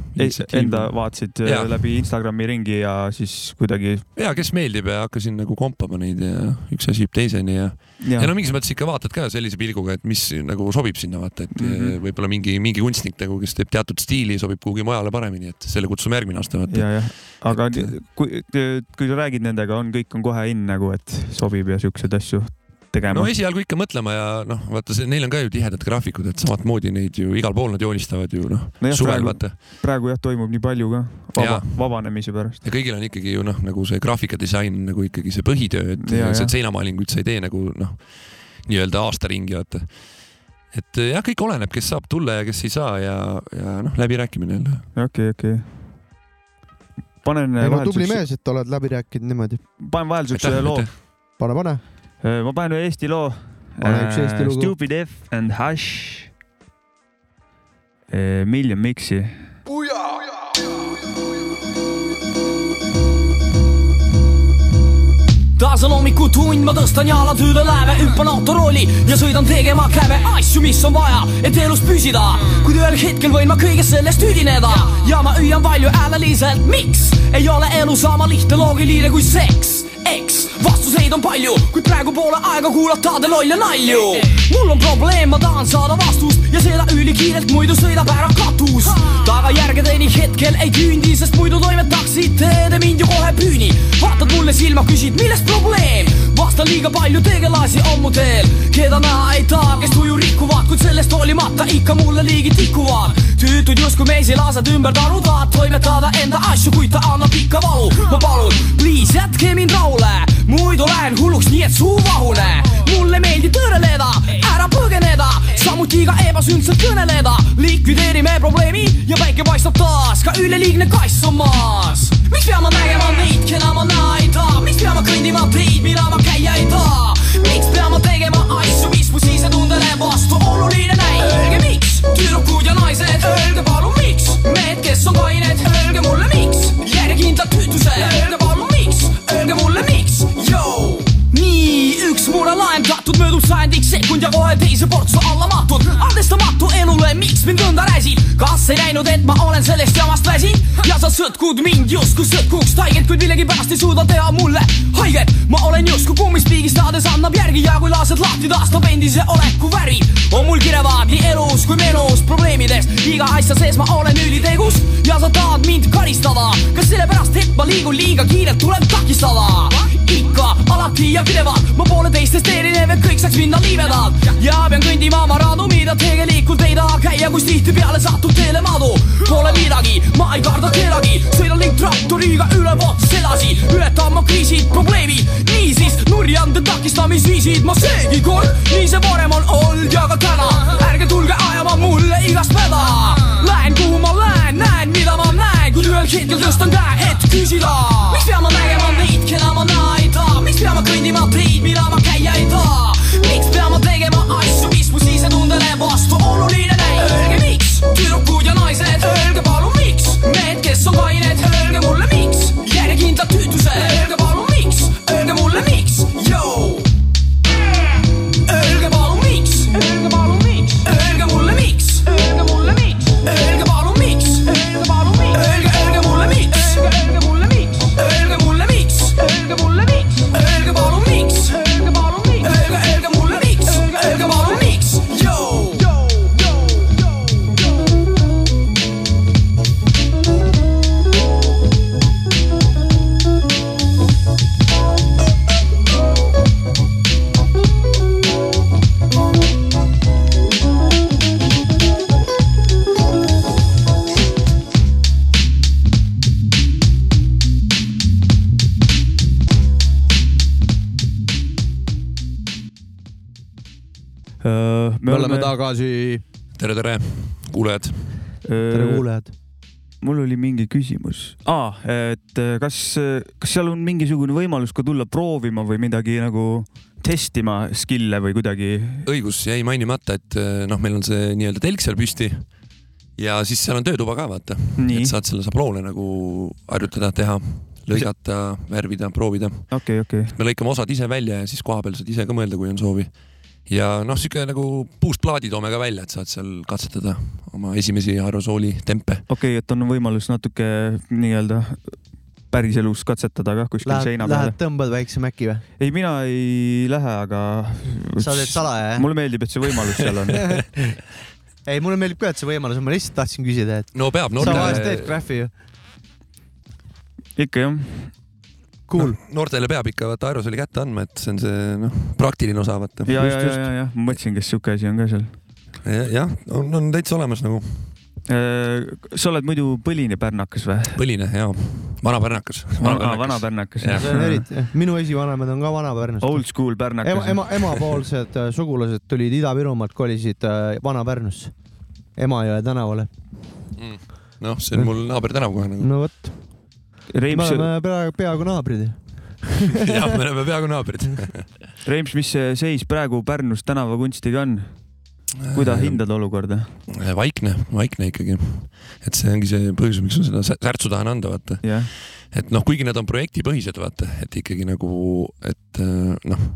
[SPEAKER 5] Enda vaatasid äh,
[SPEAKER 6] Jaa.
[SPEAKER 5] läbi Instagrami ringi ja siis kuidagi .
[SPEAKER 6] ja kes meeldib ja hakkasin nagu kompama neid ja üks asi viib teiseni ja ja no mingis mõttes ikka vaatad ka sellise pilguga , et mis nagu sobib sinna vaata , et mm
[SPEAKER 5] Mhm.
[SPEAKER 6] -hmm. võib-olla mingi mingi kunstnik nagu , kes teeb teatud stiili , sobib kuhugi mujale paremini , et selle kutsume järgmine aasta vaata .
[SPEAKER 5] ja , jah , aga
[SPEAKER 6] Et-
[SPEAKER 5] et... kui , kui sa räägid nendega , on kõik on kohe in nagu , et sobib ja siukseid asju tegema
[SPEAKER 6] no . esialgu ikka mõtlema ja noh , vaata see , neil on ka ju tihedad graafikud , et samamoodi neid ju igal pool nad joonistavad ju noh
[SPEAKER 5] No
[SPEAKER 6] no
[SPEAKER 5] jah,
[SPEAKER 6] suvel
[SPEAKER 5] praegu-
[SPEAKER 6] vaata
[SPEAKER 5] praegu jah , toimub nii palju ka Vaba,
[SPEAKER 6] Jaa.
[SPEAKER 5] vabanemise pärast .
[SPEAKER 6] ja kõigil on ikkagi ju noh , nagu see graafikadisain nagu ikkagi see põhitöö , et
[SPEAKER 5] Ja,
[SPEAKER 6] ja, see
[SPEAKER 5] jah.
[SPEAKER 6] seinamaalinguid sa ei tee nagu noh , nii-öelda aastaringi vaata . et eh, jah , kõik oleneb , kes saab tulla ja kes ei saa ja , ja noh , läbirääkimine jälle .
[SPEAKER 5] okei , okei . panen
[SPEAKER 4] ei no
[SPEAKER 5] vahel
[SPEAKER 4] tubli
[SPEAKER 5] siukse ,
[SPEAKER 4] mees , et oled läbi rääkinud niimoodi .
[SPEAKER 5] panen vahel siukse loo .
[SPEAKER 4] pane , pane .
[SPEAKER 5] ma panen ühe Eesti loo .
[SPEAKER 4] Pane üks Eesti lugu.
[SPEAKER 5] Stupid F and Hash . Million Mixi . Äh,
[SPEAKER 8] taas taas on hommikutund , ma tõstan jalad üle lääve , hüppan autorooli ja sõidan tegema käve asju , mis on vaja , et elus püsida . kuid ühel hetkel võin ma kõigest sellest tüdineda ja ma hüüan palju hääleliselt , miks ei ole elu sama lihtne , loogiline kui seks , eks vastuseid on palju , kuid praegu pole aega kuulata te lolle nalju . mul on probleem , ma tahan saada vastust ja seda ülikiirelt , muidu sõidab ära katus . tagajärgedeni hetkel ei küündi , sest muidu toimetaksite te mind ju kohe püüni . vaatad mulle silma , küsid , milles probleem ? vastan liiga palju tegelasi on mu teel , keda näha ei taha , kes tuju rikuvad , kuid sellest hoolimata ikka mulle ligi tikuvad . tüütud justkui meesilased ümber taru , tahad toimetada enda asju , kuid ta annab ikka valu . ma palun , pliis jätke mind rahule , muidu lähen hulluks , nii et suu vahune . mulle meeldib tõreleda , ära põgeneda , samuti ka ebasündselt kõneleda . likvideerime probleemi ja päike paistab taas , ka üleliigne kass on maas . miks pean ma nägema neid , keda ma näha ei taha , miks pean ma kõndima teid , mida ma käia ei taha ? miks pean ma tegema asju , mis mu sisetundele vastu oluline näib ? Öelge miks , tüdrukud ja naised , öelge palun miks , mehed , kes on kained , öelge mulle miks , järjekindlad tüütused , öelge palun miks , öelge mulle miks , joo nii , üks mure lahendatud , möödub sajandik sekund ja kohe teise portsu alla mahtud . andestamatu elule , miks mind nõnda räsid ? kas ei näinud , et ma olen sellest jamast väsinud ja sa sõtkud mind justkui sõtkuks taiget , kuid millegipärast ei suuda teha mulle haiget . ma olen justkui kummispiigis taades annab järgi ja kui lased lahti , taastab endise oleku väri . on mul kirevad nii elus kui menus probleemides , iga asja sees ma olen ülitegus ja sa tahad mind karistada . kas sellepärast , et ma liigun liiga kiirelt , tuleb takistada ? ikka , alati ja pidevalt , ma pole teistest erinev , et kõik saaks minna liivedalt ja pean kõndima oma radu , mida tegelikult ei taha käia , kus tihtipeale satub teele madu . Pole midagi , ma ei karda kedagi , sõidan ning traktoriga ülevootes edasi , ületan ma kriisid , probleemid , niisiis nurjande takistamisviisid ma seegi kord , nii see varem on olnud ja ka täna . ärge tulge ajama mulle igast mäda , lähen kuhu ma lähen , näen mida ma näen , kuid ühel hetkel tõstan käe , et küsida . miks pean ma nägema neid , keda ma näha ei taha , miks pean ma kõndima teid , mida ma käia ei taha ? miks pean ma tegema asju , mis mu sisetundele vastu oluline näib ? Öelge miks , tüdrukud ja naised , öelge palun miks , mehed , kes on kained , öelge mulle miks , järjekindlad tüütused , öelge palun miks , öelge mulle miks , joo Öelge palun miks , öelge palun miks , öelge mulle miks , öelge mulle miks , öelge palun miks , öelge palun miks , öelge , öelge mulle miks , öelge , öelge mulle miks , öelge mulle miks , öelge mulle miks , öelge palun miks , öelge palun miks , öelge , öelge mulle miks , öelge palun miks , joo .
[SPEAKER 5] me
[SPEAKER 4] me oleme tagasi ,
[SPEAKER 6] tere , tere , kuulajad .
[SPEAKER 5] äh,
[SPEAKER 4] tere . kuulajad .
[SPEAKER 5] mul oli mingi küsimus ah, , et äh, kas , kas seal on mingisugune võimalus ka tulla proovima või midagi nagu testima skill'e või kuidagi
[SPEAKER 6] õigus jäi mainimata , et eh, noh , meil on see nii-öelda telk seal püsti ja siis seal on töötuba ka , vaata .
[SPEAKER 5] Nii.
[SPEAKER 6] et saad selle sabloone nagu harjutada , teha , lõigata , värvida , proovida .
[SPEAKER 5] okei , okei ,
[SPEAKER 6] me lõikame osad ise välja ja siis kohapeal saad ise ka mõelda , kui on soovi . ja noh , sihuke nagu puust plaadi toome ka välja , et saad seal katsetada oma esimesi aerosooli tempe .
[SPEAKER 5] okei , et on võimalus natuke nii-öelda päriselus katsetada kah kuskil lähed,
[SPEAKER 4] Lähed ,
[SPEAKER 5] seina peal
[SPEAKER 4] lähed . tõmbad väikse mäki või ?
[SPEAKER 5] ei , mina ei lähe , aga .
[SPEAKER 4] sa teed salaja jah ?
[SPEAKER 5] (laughs) mulle meeldib , et see võimalus
[SPEAKER 4] (laughs)
[SPEAKER 5] seal on .
[SPEAKER 4] ei , mulle meeldib ka , et see võimalus on , ma lihtsalt tahtsin küsida , et
[SPEAKER 6] no peab
[SPEAKER 4] sa vahest teed
[SPEAKER 6] noortele ,
[SPEAKER 4] graffi ju .
[SPEAKER 5] ikka jah . (laughs)
[SPEAKER 4] Cool .
[SPEAKER 6] noortele peab ikka vaata aerosooli kätte andma , et see on see noh , praktiline osa vaata .
[SPEAKER 5] ja , ja , ja , ja , ja ma mõtlesin , kas sihuke asi on ka seal .
[SPEAKER 6] jah , on , on täitsa olemas nagu
[SPEAKER 5] Äh, sa oled muidu põline pärnakas või ?
[SPEAKER 6] põline ja vana pärnakas .
[SPEAKER 5] vana pärnakas
[SPEAKER 6] Jah.
[SPEAKER 4] see on . eriti , minu esivanemad on ka Vana-Pärnust .
[SPEAKER 5] Old school pärnakas .
[SPEAKER 4] ema , ema , emapoolsed äh, sugulased tulid Ida-Virumaalt , kolisid äh, Vana-Pärnusse , Emajõe tänavale .
[SPEAKER 6] noh , see on mul naaber tänav kohe nagu .
[SPEAKER 4] no vot , me
[SPEAKER 5] Reims ,
[SPEAKER 4] oleme peaaegu , peaaegu naabrid .
[SPEAKER 6] (laughs) jah , me oleme peaaegu naabrid .
[SPEAKER 5] Reims , mis see seis praegu Pärnus tänavakunstiga on ?
[SPEAKER 6] Äh,
[SPEAKER 5] kuidas hindad olukorda ?
[SPEAKER 6] vaikne , vaikne ikkagi . et see ongi see põhjus , miks ma seda sä- särtsu tahan anda , vaata .
[SPEAKER 5] jah ,
[SPEAKER 6] et noh , kuigi need on projektipõhised , vaata , et ikkagi nagu , et äh, noh ,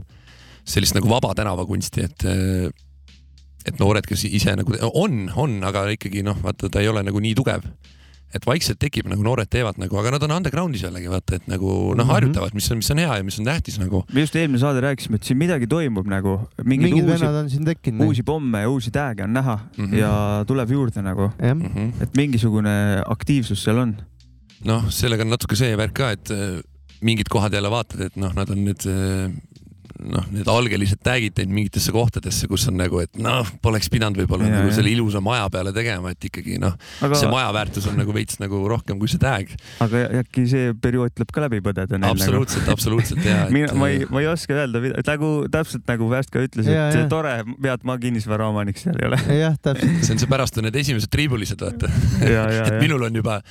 [SPEAKER 6] sellist nagu vaba tänavakunsti , et äh, et noored , kes ise nagu on , on , aga ikkagi noh , vaata , ta ei ole nagu nii tugev . et vaikselt tekib nagu noored teevad nagu , aga nad on underground'is jällegi vaata , et nagu noh , harjutavad , mis on , mis on hea ja mis on tähtis nagu .
[SPEAKER 5] me just eelmine saade rääkisime , et siin midagi toimub nagu , mingeid
[SPEAKER 4] mingid
[SPEAKER 5] uusi ,
[SPEAKER 4] vennad on siin tekkinud . noh.
[SPEAKER 5] uusi pomme ja uusi tääge on näha mm
[SPEAKER 6] Mhm.
[SPEAKER 5] -hmm. ja tuleb juurde nagu ,
[SPEAKER 4] jah ,
[SPEAKER 6] Mm -hmm.
[SPEAKER 5] et mingisugune aktiivsus seal on .
[SPEAKER 6] noh , sellega on natuke see värk ka , et äh, mingid kohad jälle vaatad , et noh , nad on nüüd äh, noh , need algelised tag'id teinud mingitesse kohtadesse , kus on nagu , et noh , poleks pidanud võib-olla
[SPEAKER 5] Jaa,
[SPEAKER 6] nagu
[SPEAKER 5] jah.
[SPEAKER 6] selle ilusa maja peale tegema , et ikkagi noh , see
[SPEAKER 5] aga ,
[SPEAKER 6] maja väärtus on nagu veits nagu rohkem kui see tag .
[SPEAKER 5] aga äkki see periood tuleb ka läbi põdeda neil nagu ?
[SPEAKER 6] absoluutselt , absoluutselt äh, ja .
[SPEAKER 5] mina , ma ei , ma ei oska öelda , nagu täpselt nagu Värska ütles ,
[SPEAKER 4] Jaa,
[SPEAKER 5] et
[SPEAKER 4] jaa.
[SPEAKER 5] tore , pead ma kinnisvaraomanik seal ei ole .
[SPEAKER 4] jah , täpselt .
[SPEAKER 6] see on seepärast on need esimesed triibulised , vaata .
[SPEAKER 5] ja , ja ,
[SPEAKER 6] et
[SPEAKER 5] ja ,
[SPEAKER 6] minul on juba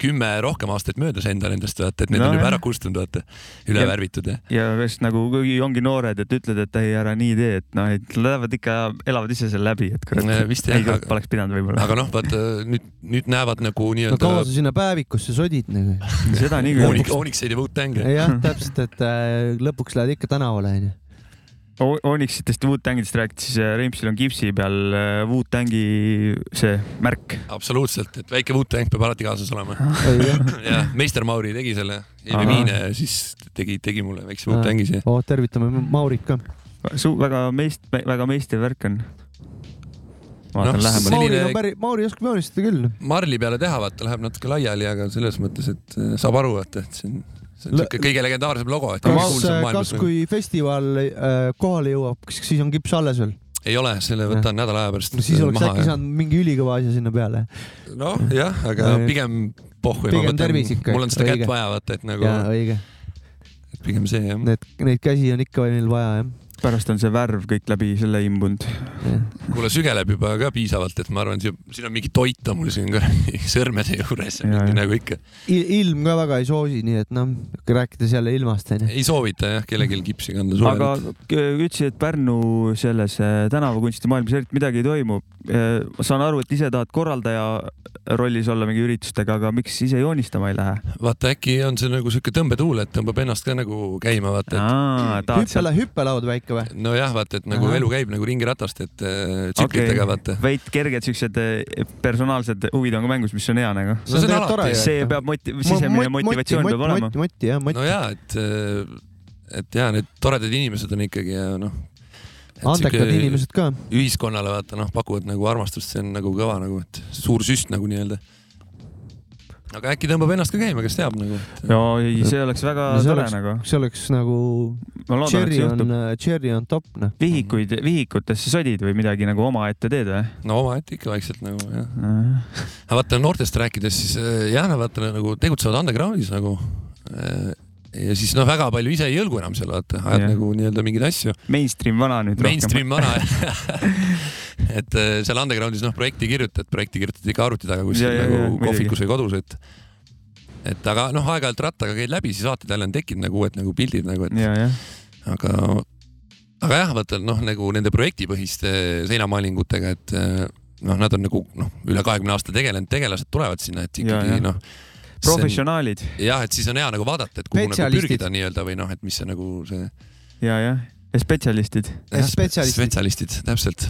[SPEAKER 6] kümme rohkem aastaid möödas enda nendest , vaata , et need
[SPEAKER 5] No
[SPEAKER 6] on
[SPEAKER 5] jah.
[SPEAKER 6] juba ära kustunud , vaata . üle
[SPEAKER 5] Ja-
[SPEAKER 6] värvitud ja .
[SPEAKER 5] ja just nagu kuigi ongi noored , et ütled , et ei ära nii tee , et noh , et lähevad ikka , elavad ise seal läbi , et kurat
[SPEAKER 6] Ja vist jah,
[SPEAKER 5] ei kurat
[SPEAKER 6] aga-
[SPEAKER 5] poleks pidanud võib-olla .
[SPEAKER 6] aga noh , vaata nüüd , nüüd näevad nagu
[SPEAKER 4] no
[SPEAKER 6] nii-öelda
[SPEAKER 4] kaua sa sinna päevikusse sodid nagu ?
[SPEAKER 5] (laughs) seda niikuinii
[SPEAKER 6] Onyx , Onyx ei tee Wu-Tang'e .
[SPEAKER 4] jah , täpselt , et äh, lõpuks lähed ikka tänavale ,
[SPEAKER 5] (laughs)
[SPEAKER 4] onju .
[SPEAKER 5] O- Onyxitest ja Wu-Tangidest rääkides , siis äh, Reimsil on kipsi peal äh, Wu-Tangi see märk .
[SPEAKER 6] absoluutselt , et väike Wu-Tang peab alati kaasas olema . ja meister Mauri tegi selle ,
[SPEAKER 5] Ahah.
[SPEAKER 6] Eevi Miine , siis tegi , tegi mulle väikse Wu-Tangi siia .
[SPEAKER 4] oh , tervitame Maurit ka .
[SPEAKER 5] su väga meist- , väga meistriv värk on .
[SPEAKER 6] Noh,
[SPEAKER 5] vaatan no, lähemale .
[SPEAKER 4] Mauril
[SPEAKER 6] Selline-
[SPEAKER 4] on päris , Mauri oskab joonistada küll .
[SPEAKER 6] Marli peale teha , vaata , läheb natuke laiali , aga selles mõttes , et äh, saab aru , vaata , et see on , see on
[SPEAKER 4] Lõ-
[SPEAKER 6] siuke kõige legendaarsem logo , et kõige
[SPEAKER 4] kas äh,
[SPEAKER 6] kuulsam ,
[SPEAKER 4] kas
[SPEAKER 6] maailmas .
[SPEAKER 4] kui festival äh, kohale jõuab , kas siis on kips alles veel ?
[SPEAKER 6] ei ole , selle võtan nädala aja pärast äh,
[SPEAKER 4] siis oleks
[SPEAKER 6] maha
[SPEAKER 4] äkki
[SPEAKER 6] ja-
[SPEAKER 4] saanud mingi ülikõva asja sinna peale .
[SPEAKER 6] noh , jah , aga
[SPEAKER 4] Ja-
[SPEAKER 6] pigem pohhu .
[SPEAKER 4] Pigem tervis ikka,
[SPEAKER 6] mul on
[SPEAKER 4] et
[SPEAKER 6] seda kätt
[SPEAKER 4] õige.
[SPEAKER 6] vaja , vaata , et nagu
[SPEAKER 4] jaa , õige .
[SPEAKER 6] et pigem see jah .
[SPEAKER 4] Need , neid käsi on ikka veel neil vaja , jah
[SPEAKER 5] pärast on see värv kõik läbi selle imbunud .
[SPEAKER 4] jah.
[SPEAKER 6] kuule , sügeleb juba ka piisavalt , et ma arvan , siin siin on mingi toit on mul siin ka (laughs) sõrmede juures
[SPEAKER 5] Ja,
[SPEAKER 6] ja,
[SPEAKER 5] ja.
[SPEAKER 6] ja. nagu ikka .
[SPEAKER 4] Il- ilm ka väga ei soosi , nii et noh , rääkides jälle ilmast , onju .
[SPEAKER 6] ei soovita jah , kellelgi kipsi kanda suvel
[SPEAKER 5] aga . k- ütlesid , et Pärnu selles äh, tänavakunstimaailmas eriti midagi ei toimu . ma saan aru , et ise tahad korraldaja rollis olla mingi üritustega , aga miks ise joonistama ei lähe ?
[SPEAKER 6] vaata äkki on see nagu siuke tõmbetuul , et tõmbab ennast ka nagu käima , vaata .
[SPEAKER 5] tahad seal
[SPEAKER 4] hüppela , hüppelaud väike või ?
[SPEAKER 6] nojah , vaata , et nagu
[SPEAKER 4] Ahah.
[SPEAKER 6] elu käib nagu ringiratast , et äh, tsiklitega okay. vaata .
[SPEAKER 5] veid kerged siuksed eh, personaalsed huvid on ka mängus , mis on hea nagu .
[SPEAKER 6] No see on alati-
[SPEAKER 5] see .
[SPEAKER 4] noh.
[SPEAKER 5] peab moti- , sisemine motivatsioon peab olema .
[SPEAKER 4] moti , moti jah , moti .
[SPEAKER 6] no ja , et , et ja need toredad inimesed on ikkagi ja noh .
[SPEAKER 4] andekad . inimesed ka .
[SPEAKER 6] ühiskonnale vaata noh , pakuvad nagu armastust , see on nagu kõva nagu , et suur süst nagu nii-öelda . aga äkki tõmbab ennast ka käima , kes teab nagu .
[SPEAKER 5] no ei , see oleks väga
[SPEAKER 4] No see
[SPEAKER 5] tore
[SPEAKER 4] oleks-
[SPEAKER 5] nagu .
[SPEAKER 4] see oleks nagu
[SPEAKER 5] ma loodan , et
[SPEAKER 4] cherry
[SPEAKER 5] see
[SPEAKER 4] on äh,
[SPEAKER 5] juhtub .,
[SPEAKER 4] cherry on top , noh .
[SPEAKER 5] vihikuid , vihikutesse sodid või midagi nagu omaette teed või ? Äh,
[SPEAKER 6] no omaette ikka vaikselt nagu jah . aga vaata noortest rääkides , siis äh, jah , nad vaata nagu tegutsevad undergroundis nagu . ja siis noh , väga palju ise ei hõlgu enam seal vaata , ajad
[SPEAKER 5] Jah.
[SPEAKER 6] yeah. nagu nii-öelda mingeid asju .
[SPEAKER 5] Mainstream vana nüüd rohkem .
[SPEAKER 6] Mainstream
[SPEAKER 5] (laughs)
[SPEAKER 6] vana . (laughs) et äh, seal undergroundis noh , projekti ei kirjuta , et projekti kirjutad ikka arvuti taga kuskil
[SPEAKER 5] Ja, ja, ja,
[SPEAKER 6] nagu
[SPEAKER 5] muidugi.
[SPEAKER 6] kohvikus või kodus , et et aga noh , aeg-ajalt rattaga käid läbi , siis vaatad jälle on tekkinud nagu uued nagu pildid nagu , et
[SPEAKER 5] ja , jah .
[SPEAKER 6] aga , aga jah , vaata noh , nagu nende projektipõhiste seinamaalingutega , et eh, noh , nad on nagu noh , üle kahekümne aasta tegelenud , tegelased tulevad sinna , et
[SPEAKER 5] Ja, ja.
[SPEAKER 6] ikkagi noh .
[SPEAKER 5] professionaalid
[SPEAKER 6] jah , et siis on hea nagu vaadata , et kuhu nagu
[SPEAKER 4] Spetsialistid.
[SPEAKER 6] pürgida nii-öelda või noh , et mis see nagu see .
[SPEAKER 5] ja , jah . ja spetsialistid .
[SPEAKER 4] spetsialistid.
[SPEAKER 6] spetsialistid , täpselt .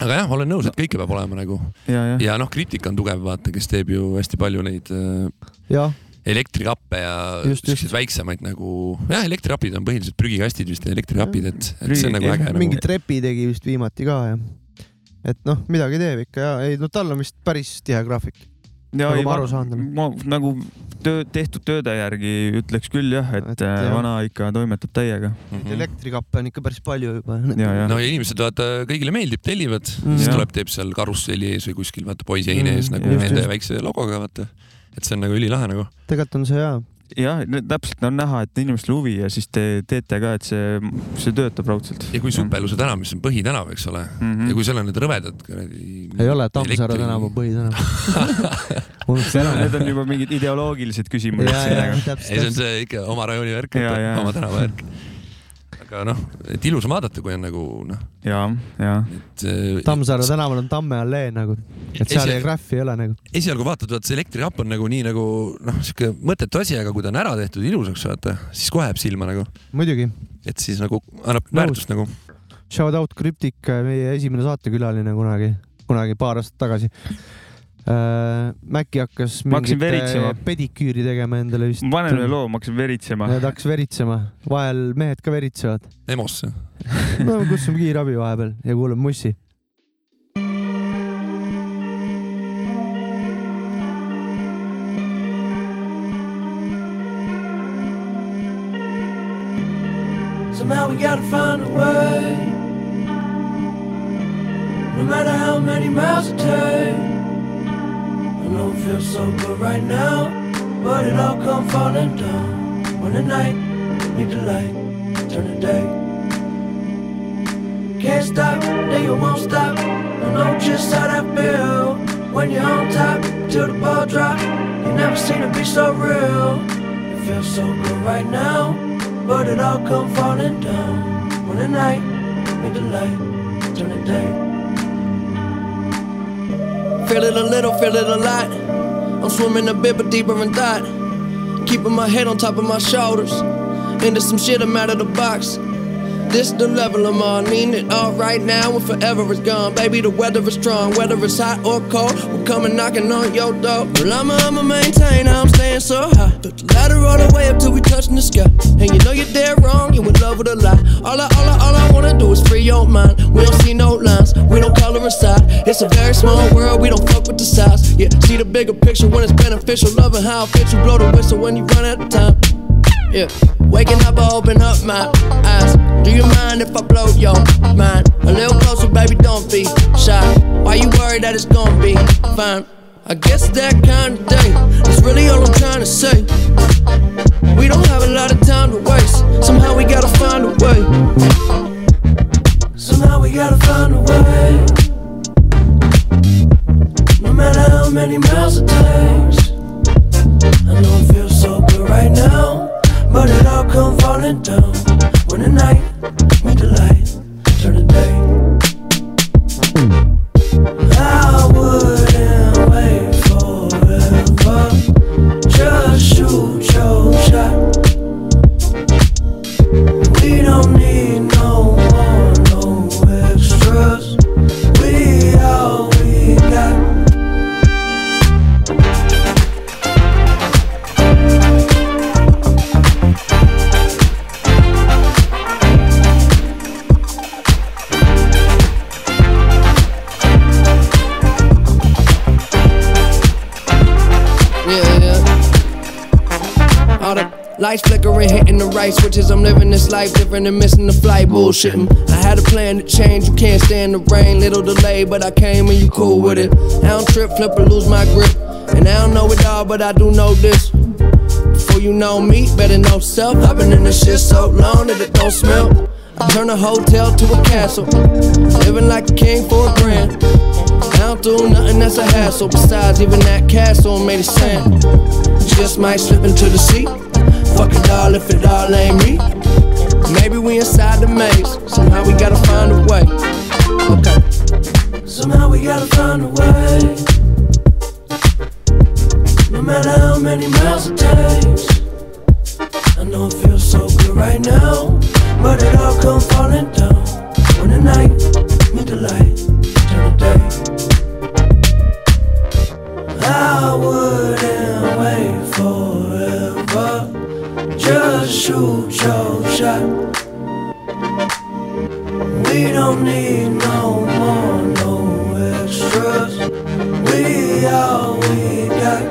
[SPEAKER 6] aga jah , olen nõus , et kõike peab olema nagu
[SPEAKER 5] ja , jah .
[SPEAKER 6] ja noh , kriitika on tugev , vaata , kes teeb ju hästi palju neid eh,
[SPEAKER 4] jah ,
[SPEAKER 6] elektrikappe ja
[SPEAKER 4] Just, just.
[SPEAKER 6] siukseid väiksemaid nagu , jah , elektrikapid on põhiliselt prügikastid vist , elektrikapid , et , et see on nagu äge nagu .
[SPEAKER 4] mingi trepi tegi vist viimati ka ja et noh , midagi teeb ikka ja ei no tal on vist päris tihe graafik .
[SPEAKER 5] ja
[SPEAKER 4] Nagu
[SPEAKER 5] ei,
[SPEAKER 4] ma aru saan talle.
[SPEAKER 5] ma nagu töö , tehtud tööde järgi ütleks küll jah , et,
[SPEAKER 4] Et
[SPEAKER 5] et
[SPEAKER 4] jah.
[SPEAKER 5] vana ikka toimetab täiega .
[SPEAKER 6] Mhm.
[SPEAKER 4] Neid elektrikappe on ikka päris palju juba .
[SPEAKER 5] ja , ja
[SPEAKER 6] no ja inimesed vaata , kõigile meeldib , tellivad
[SPEAKER 4] Mm.
[SPEAKER 6] mm. , siis
[SPEAKER 5] Jah.
[SPEAKER 6] tuleb , teeb seal karusselli ees või kuskil vaata poisi heine
[SPEAKER 5] Mm,
[SPEAKER 6] ees nagu
[SPEAKER 5] just,
[SPEAKER 6] nende
[SPEAKER 5] just.
[SPEAKER 6] väikse logoga vaata . et see on nagu ülilahe nagu .
[SPEAKER 4] tegelikult on see hea .
[SPEAKER 5] jah , täpselt on näha , et inimestel huvi ja siis te teete ka , et see , see töötab raudselt .
[SPEAKER 6] ja kui Supeluse tänav , mis on põhitänav , eks ole mm ,
[SPEAKER 5] Mm. Mhm.
[SPEAKER 6] -hmm. ja kui seal on need rõvedad kuradi .
[SPEAKER 4] ei ole Tammsaare tänav
[SPEAKER 6] (laughs)
[SPEAKER 4] on . põhitänav . (laughs) unustasin
[SPEAKER 5] Need
[SPEAKER 4] ära .
[SPEAKER 5] on juba mingid ideoloogilised
[SPEAKER 4] ja , ja
[SPEAKER 5] küsimused .
[SPEAKER 6] ei , see on
[SPEAKER 4] täpselt .
[SPEAKER 6] see ikka oma rajooni värk
[SPEAKER 5] Ja, ja. ,
[SPEAKER 6] oma tänava värk . aga noh , et ilus on vaadata , kui on nagu noh ,
[SPEAKER 5] ja , ja
[SPEAKER 6] et eh,
[SPEAKER 4] Tammsaare tänaval on Tamme allee nagu , et seal
[SPEAKER 6] Esi-
[SPEAKER 4] ei graffi ei ole nagu .
[SPEAKER 6] esialgu vaatad , vaat see elektrihapp on nagu nii nagu noh , sihuke mõttetu asi , aga kui ta on ära tehtud ilusaks , vaata , siis kohe jääb silma nagu ,
[SPEAKER 4] muidugi ,
[SPEAKER 6] et siis nagu annab
[SPEAKER 4] Nõus.
[SPEAKER 6] väärtust nagu .
[SPEAKER 4] shout out Krüptik , meie esimene saatekülaline kunagi , kunagi paar aastat tagasi . Mäkki hakkas
[SPEAKER 5] Ma hakkasin veritsema.
[SPEAKER 4] mingit pediküüri tegema endale vist .
[SPEAKER 5] ma panen ühe loo , ma hakkasin veritsema .
[SPEAKER 4] ja ta hakkas veritsema , vahel mehed ka veritsevad .
[SPEAKER 6] EMO-sse .
[SPEAKER 4] no kutsume kiirabi vahepeal ja kuulame mussi .
[SPEAKER 9] Somehow we gotta find a way. No matter how many miles it takes. I know it feels so good right now. But it all come falling down. When the night, make the light, turn the day. Can't stop, then you won't stop. I know just how that feel. When you're on top, till the ball drop. You never seen it be so real. It feels so good right now, but it all come falling down. When the night, make the light, turn the day. Feel it a little, feel it a lot. I'm swimming a bit, but deeper in thought. Keeping my head on top of my shoulders. Into some shit, I'm out of the box. This the level I'm on, need it all right now and forever is gone. Baby, the weather is strong, whether it's hot or cold, we're coming knocking on your door. Well, I'ma, I'ma maintain, I'm staying so high. Took the ladder all the way up till we touching the sky. And you know you're dead wrong, you in love with a lie. All I, all I, all I wanna do is free your mind. We don't see no lines, we don't color inside. It's a very small world, we don't fuck with the size. Yeah, see the bigger picture when it's beneficial. Loving how I fit you, blow the whistle when you run out of time. Yeah. Waking up, I open up my eyes. Do you mind if I blow your mind? A little closer, baby, don't be shy. Why you worried that it's gonna be fine? I guess that kind of day is really all I'm trying to say. We don't have a lot of time to waste. Somehow we gotta find a way. Somehow we gotta find a way. No matter how many miles it takes. I know it feels so good right now, but it all come falling down. When the night meet the light, turn the day. I wouldn't wait forever. Just shoot your shot. We don't need no more, no extras. We all we got. yeah, yeah. All the lights flickering, hitting the right switches. I'm living this life different and missing the flight. Bullshitting. I had a plan to change. You can't stand the rain, little delay, but I came and you cool with it. I don't trip, flip, or lose my grip. And I don't know it all, but I do know this. Before you know me, better know self. I've been in this shit so long that it don't smell. I turn a hotel to a castle. Living like a king for a grand. I don't do nothing that's a hassle. Besides, even that castle made of sand. Just might slip into the sea. Fuck it all if it all ain't me. Maybe we inside the maze. Somehow we gotta find a way. Okay. Somehow we gotta find a way. No matter how many miles it takes. I know it feels so good right now. But it all come falling down. When the night meet the light, turn the day. I wouldn't wait forever. Just shoot your shot. We don't need no more, no extras. We all we got.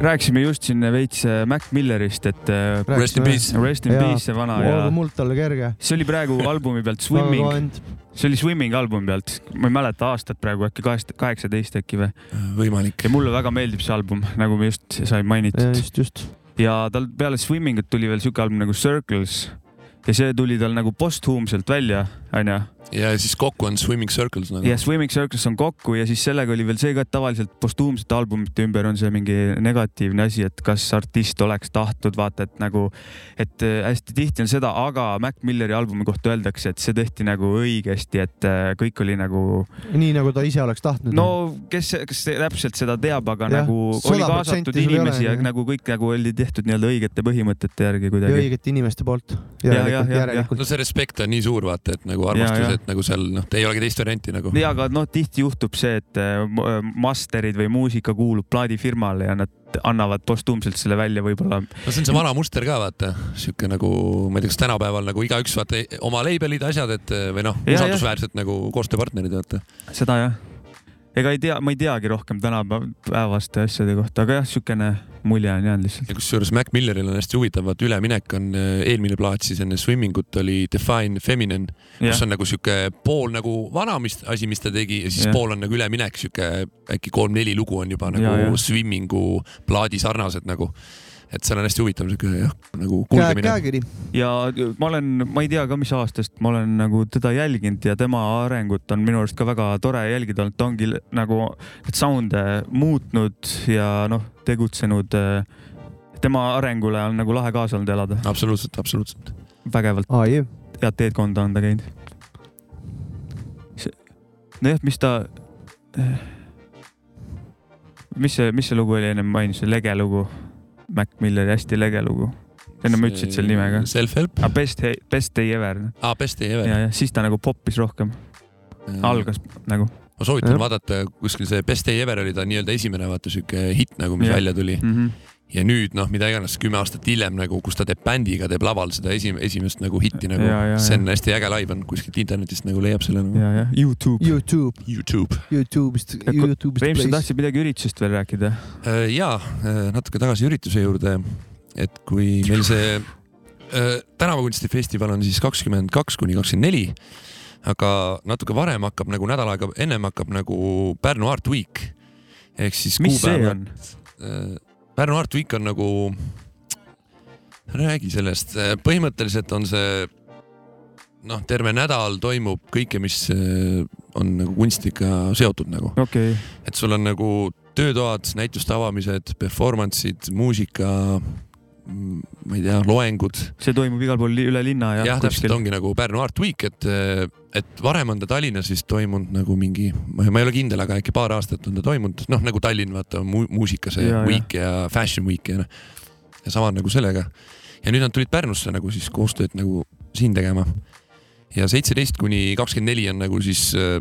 [SPEAKER 5] rääkisime just siin veits äh, Mac Millerist , et äh,
[SPEAKER 6] Rest in peace .
[SPEAKER 5] Rest in
[SPEAKER 4] Jaa.
[SPEAKER 5] peace see vana ja
[SPEAKER 4] olgu muld talle kerge .
[SPEAKER 5] see oli
[SPEAKER 4] (laughs)
[SPEAKER 5] praegu albumi pealt Swimming , see oli Swimming albumi pealt , ma ei mäleta aastat praegu äkki kaheksa , kaheksateist äkki või .
[SPEAKER 6] võimalik
[SPEAKER 5] ja . mulle väga meeldib see album , nagu me just sai mainitud .
[SPEAKER 4] just , just .
[SPEAKER 5] ja tal peale Swimmingut tuli veel siuke album nagu Circles ja see tuli tal nagu posthuumselt välja , onju .
[SPEAKER 6] ja siis kokku on Swimming Circles nagu
[SPEAKER 5] ja Swimming Circles on kokku ja siis sellega oli veel see ka , et tavaliselt posthuumsete albumite ümber on see mingi negatiivne asi , et kas artist oleks tahtnud vaata , et nagu , et äh, hästi tihti on seda , aga Mac Milleri albumi kohta öeldakse , et see tehti nagu õigesti , et äh, kõik oli nagu ,
[SPEAKER 4] nii nagu ta ise oleks tahtnud .
[SPEAKER 5] no kes , kes täpselt seda teab , aga
[SPEAKER 4] Mhm. Jah,
[SPEAKER 5] ja, nagu oli
[SPEAKER 4] 100%
[SPEAKER 5] kaasatud
[SPEAKER 4] sul ei ole,
[SPEAKER 5] inimesi ja
[SPEAKER 4] jah.
[SPEAKER 5] nagu kõik nagu oli tehtud nii-öelda õigete põhimõtete järgi
[SPEAKER 4] ja
[SPEAKER 5] kuidagi .
[SPEAKER 4] õigete inimeste poolt .
[SPEAKER 5] Jah, jah,
[SPEAKER 4] järelikult ,
[SPEAKER 5] jah,
[SPEAKER 6] no
[SPEAKER 4] järelikult .
[SPEAKER 6] see respekt on nii suur , vaata , et nagu
[SPEAKER 5] Jaa, jaa.
[SPEAKER 6] armastus , et nagu seal noh , ei olegi teist varianti nagu .
[SPEAKER 5] ja aga noh , tihti juhtub see , et äh, mu- äh, masterid või muusika kuulub plaadifirmale ja nad annavad postuumselt selle välja võib-olla .
[SPEAKER 6] no see on see vana muster ka vaata , sihuke nagu ma ei tea , kas tänapäeval nagu igaüks vaata ei- oma label'id , asjad , et või noh ,
[SPEAKER 5] Jaa,
[SPEAKER 6] usaldusväärsed nagu koostööpartnerid vaata .
[SPEAKER 5] seda jah . ega ei tea , ma ei teagi rohkem tänapäevaste asjade kohta , aga jah , siukene mulje on jäänud lihtsalt .
[SPEAKER 6] ja kusjuures Mac Milleril on hästi huvitav , vaata üleminek on äh, eelmine plaat siis enne Swimming ut oli Define Feminine , kus
[SPEAKER 5] jah ,
[SPEAKER 6] on nagu sihuke pool nagu vana mis, asi , mis ta tegi ja siis
[SPEAKER 5] Jah.
[SPEAKER 6] ja. pool on nagu üleminek , sihuke äkki kolm-neli lugu on juba nagu
[SPEAKER 5] Jaa,
[SPEAKER 6] ja,
[SPEAKER 5] jah.
[SPEAKER 6] ja. Swimmingu plaadi sarnased nagu . et seal on hästi huvitav sihuke jah , nagu kulgemine .
[SPEAKER 4] käekiri .
[SPEAKER 5] ja ma olen , ma ei tea ka , mis aastast ma olen nagu teda jälginud ja tema arengut on minu arust ka väga tore jälgida olnud , ta ongi l- nagu neid sound'e muutnud ja noh , tegutsenud . tema arengule on nagu lahe kaasa olnud elada ,
[SPEAKER 6] absoluutselt , absoluutselt .
[SPEAKER 5] vägevalt .
[SPEAKER 4] ai ,
[SPEAKER 5] head teedkonda on ta käinud . nojah , mis ta , mis see , mis see lugu oli ennem maininud , see lege lugu , Mac Milleri hästi lege lugu . ennem ütlesid selle nime ka .
[SPEAKER 6] Self-help
[SPEAKER 5] Ah, best , best day ever noh.
[SPEAKER 6] ah, , Best Day Ever .
[SPEAKER 5] ja , ja siis ta nagu popis rohkem ,
[SPEAKER 6] Mhm.
[SPEAKER 5] algas nagu
[SPEAKER 6] ma soovitan
[SPEAKER 4] Jah.
[SPEAKER 6] ja. vaadata kuskil see Best Day Ever oli ta nii-öelda esimene vaata siuke hitt nagu , mis
[SPEAKER 5] Jah.
[SPEAKER 6] ja. välja tuli
[SPEAKER 5] mm . -hmm.
[SPEAKER 6] ja nüüd noh , mida iganes kümme aastat hiljem nagu , kus ta teeb bändiga , teeb laval seda esi- , esimest nagu hitti nagu
[SPEAKER 5] Ja, ja, .
[SPEAKER 6] see
[SPEAKER 5] ja.
[SPEAKER 6] on hästi äge live on kuskilt internetist nagu leiab selle nagu. .
[SPEAKER 5] ja , ja Youtube .
[SPEAKER 4] Youtube ,
[SPEAKER 6] Youtube .
[SPEAKER 4] Youtube'ist ,
[SPEAKER 5] Ja ku- Reimsi
[SPEAKER 4] Youtube'ist .
[SPEAKER 5] tahtsid midagi üritusest veel rääkida .
[SPEAKER 6] ja Äh, natuke tagasi ürituse juurde , et kui meil see äh, tänavakunstifestival on siis kakskümmend kaks kuni kakskümmend neli , aga natuke varem hakkab nagu nädal aega ennem hakkab nagu Pärnu Art Week ehk siis
[SPEAKER 5] mis see
[SPEAKER 6] kuupäevad
[SPEAKER 5] on ?
[SPEAKER 6] Äh, Pärnu Art Week on nagu , räägi sellest , põhimõtteliselt on see noh , terve nädal toimub kõike , mis äh, on nagu kunstiga seotud nagu ,
[SPEAKER 5] okei okay. ,
[SPEAKER 6] et sul on nagu töötoad , näituste avamised , performance'id , muusika , ma ei tea , loengud
[SPEAKER 5] see toimub igal pool li üle linna ja
[SPEAKER 6] jah , täpselt . ongi nagu Pärnu Art Week , et , eh, et varem on ta Tallinnas vist toimunud nagu mingi , ma ma ei ole kindel , aga äkki paar aastat on ta toimunud , noh nagu Tallinn vaata mu muusika see ja,
[SPEAKER 5] Jaa,
[SPEAKER 6] week ja, ja fashion week ja noh . ja sama nagu sellega . ja nüüd nad tulid Pärnusse nagu siis koostööd nagu siin tegema . ja seitseteist kuni kakskümmend neli on nagu siis äh,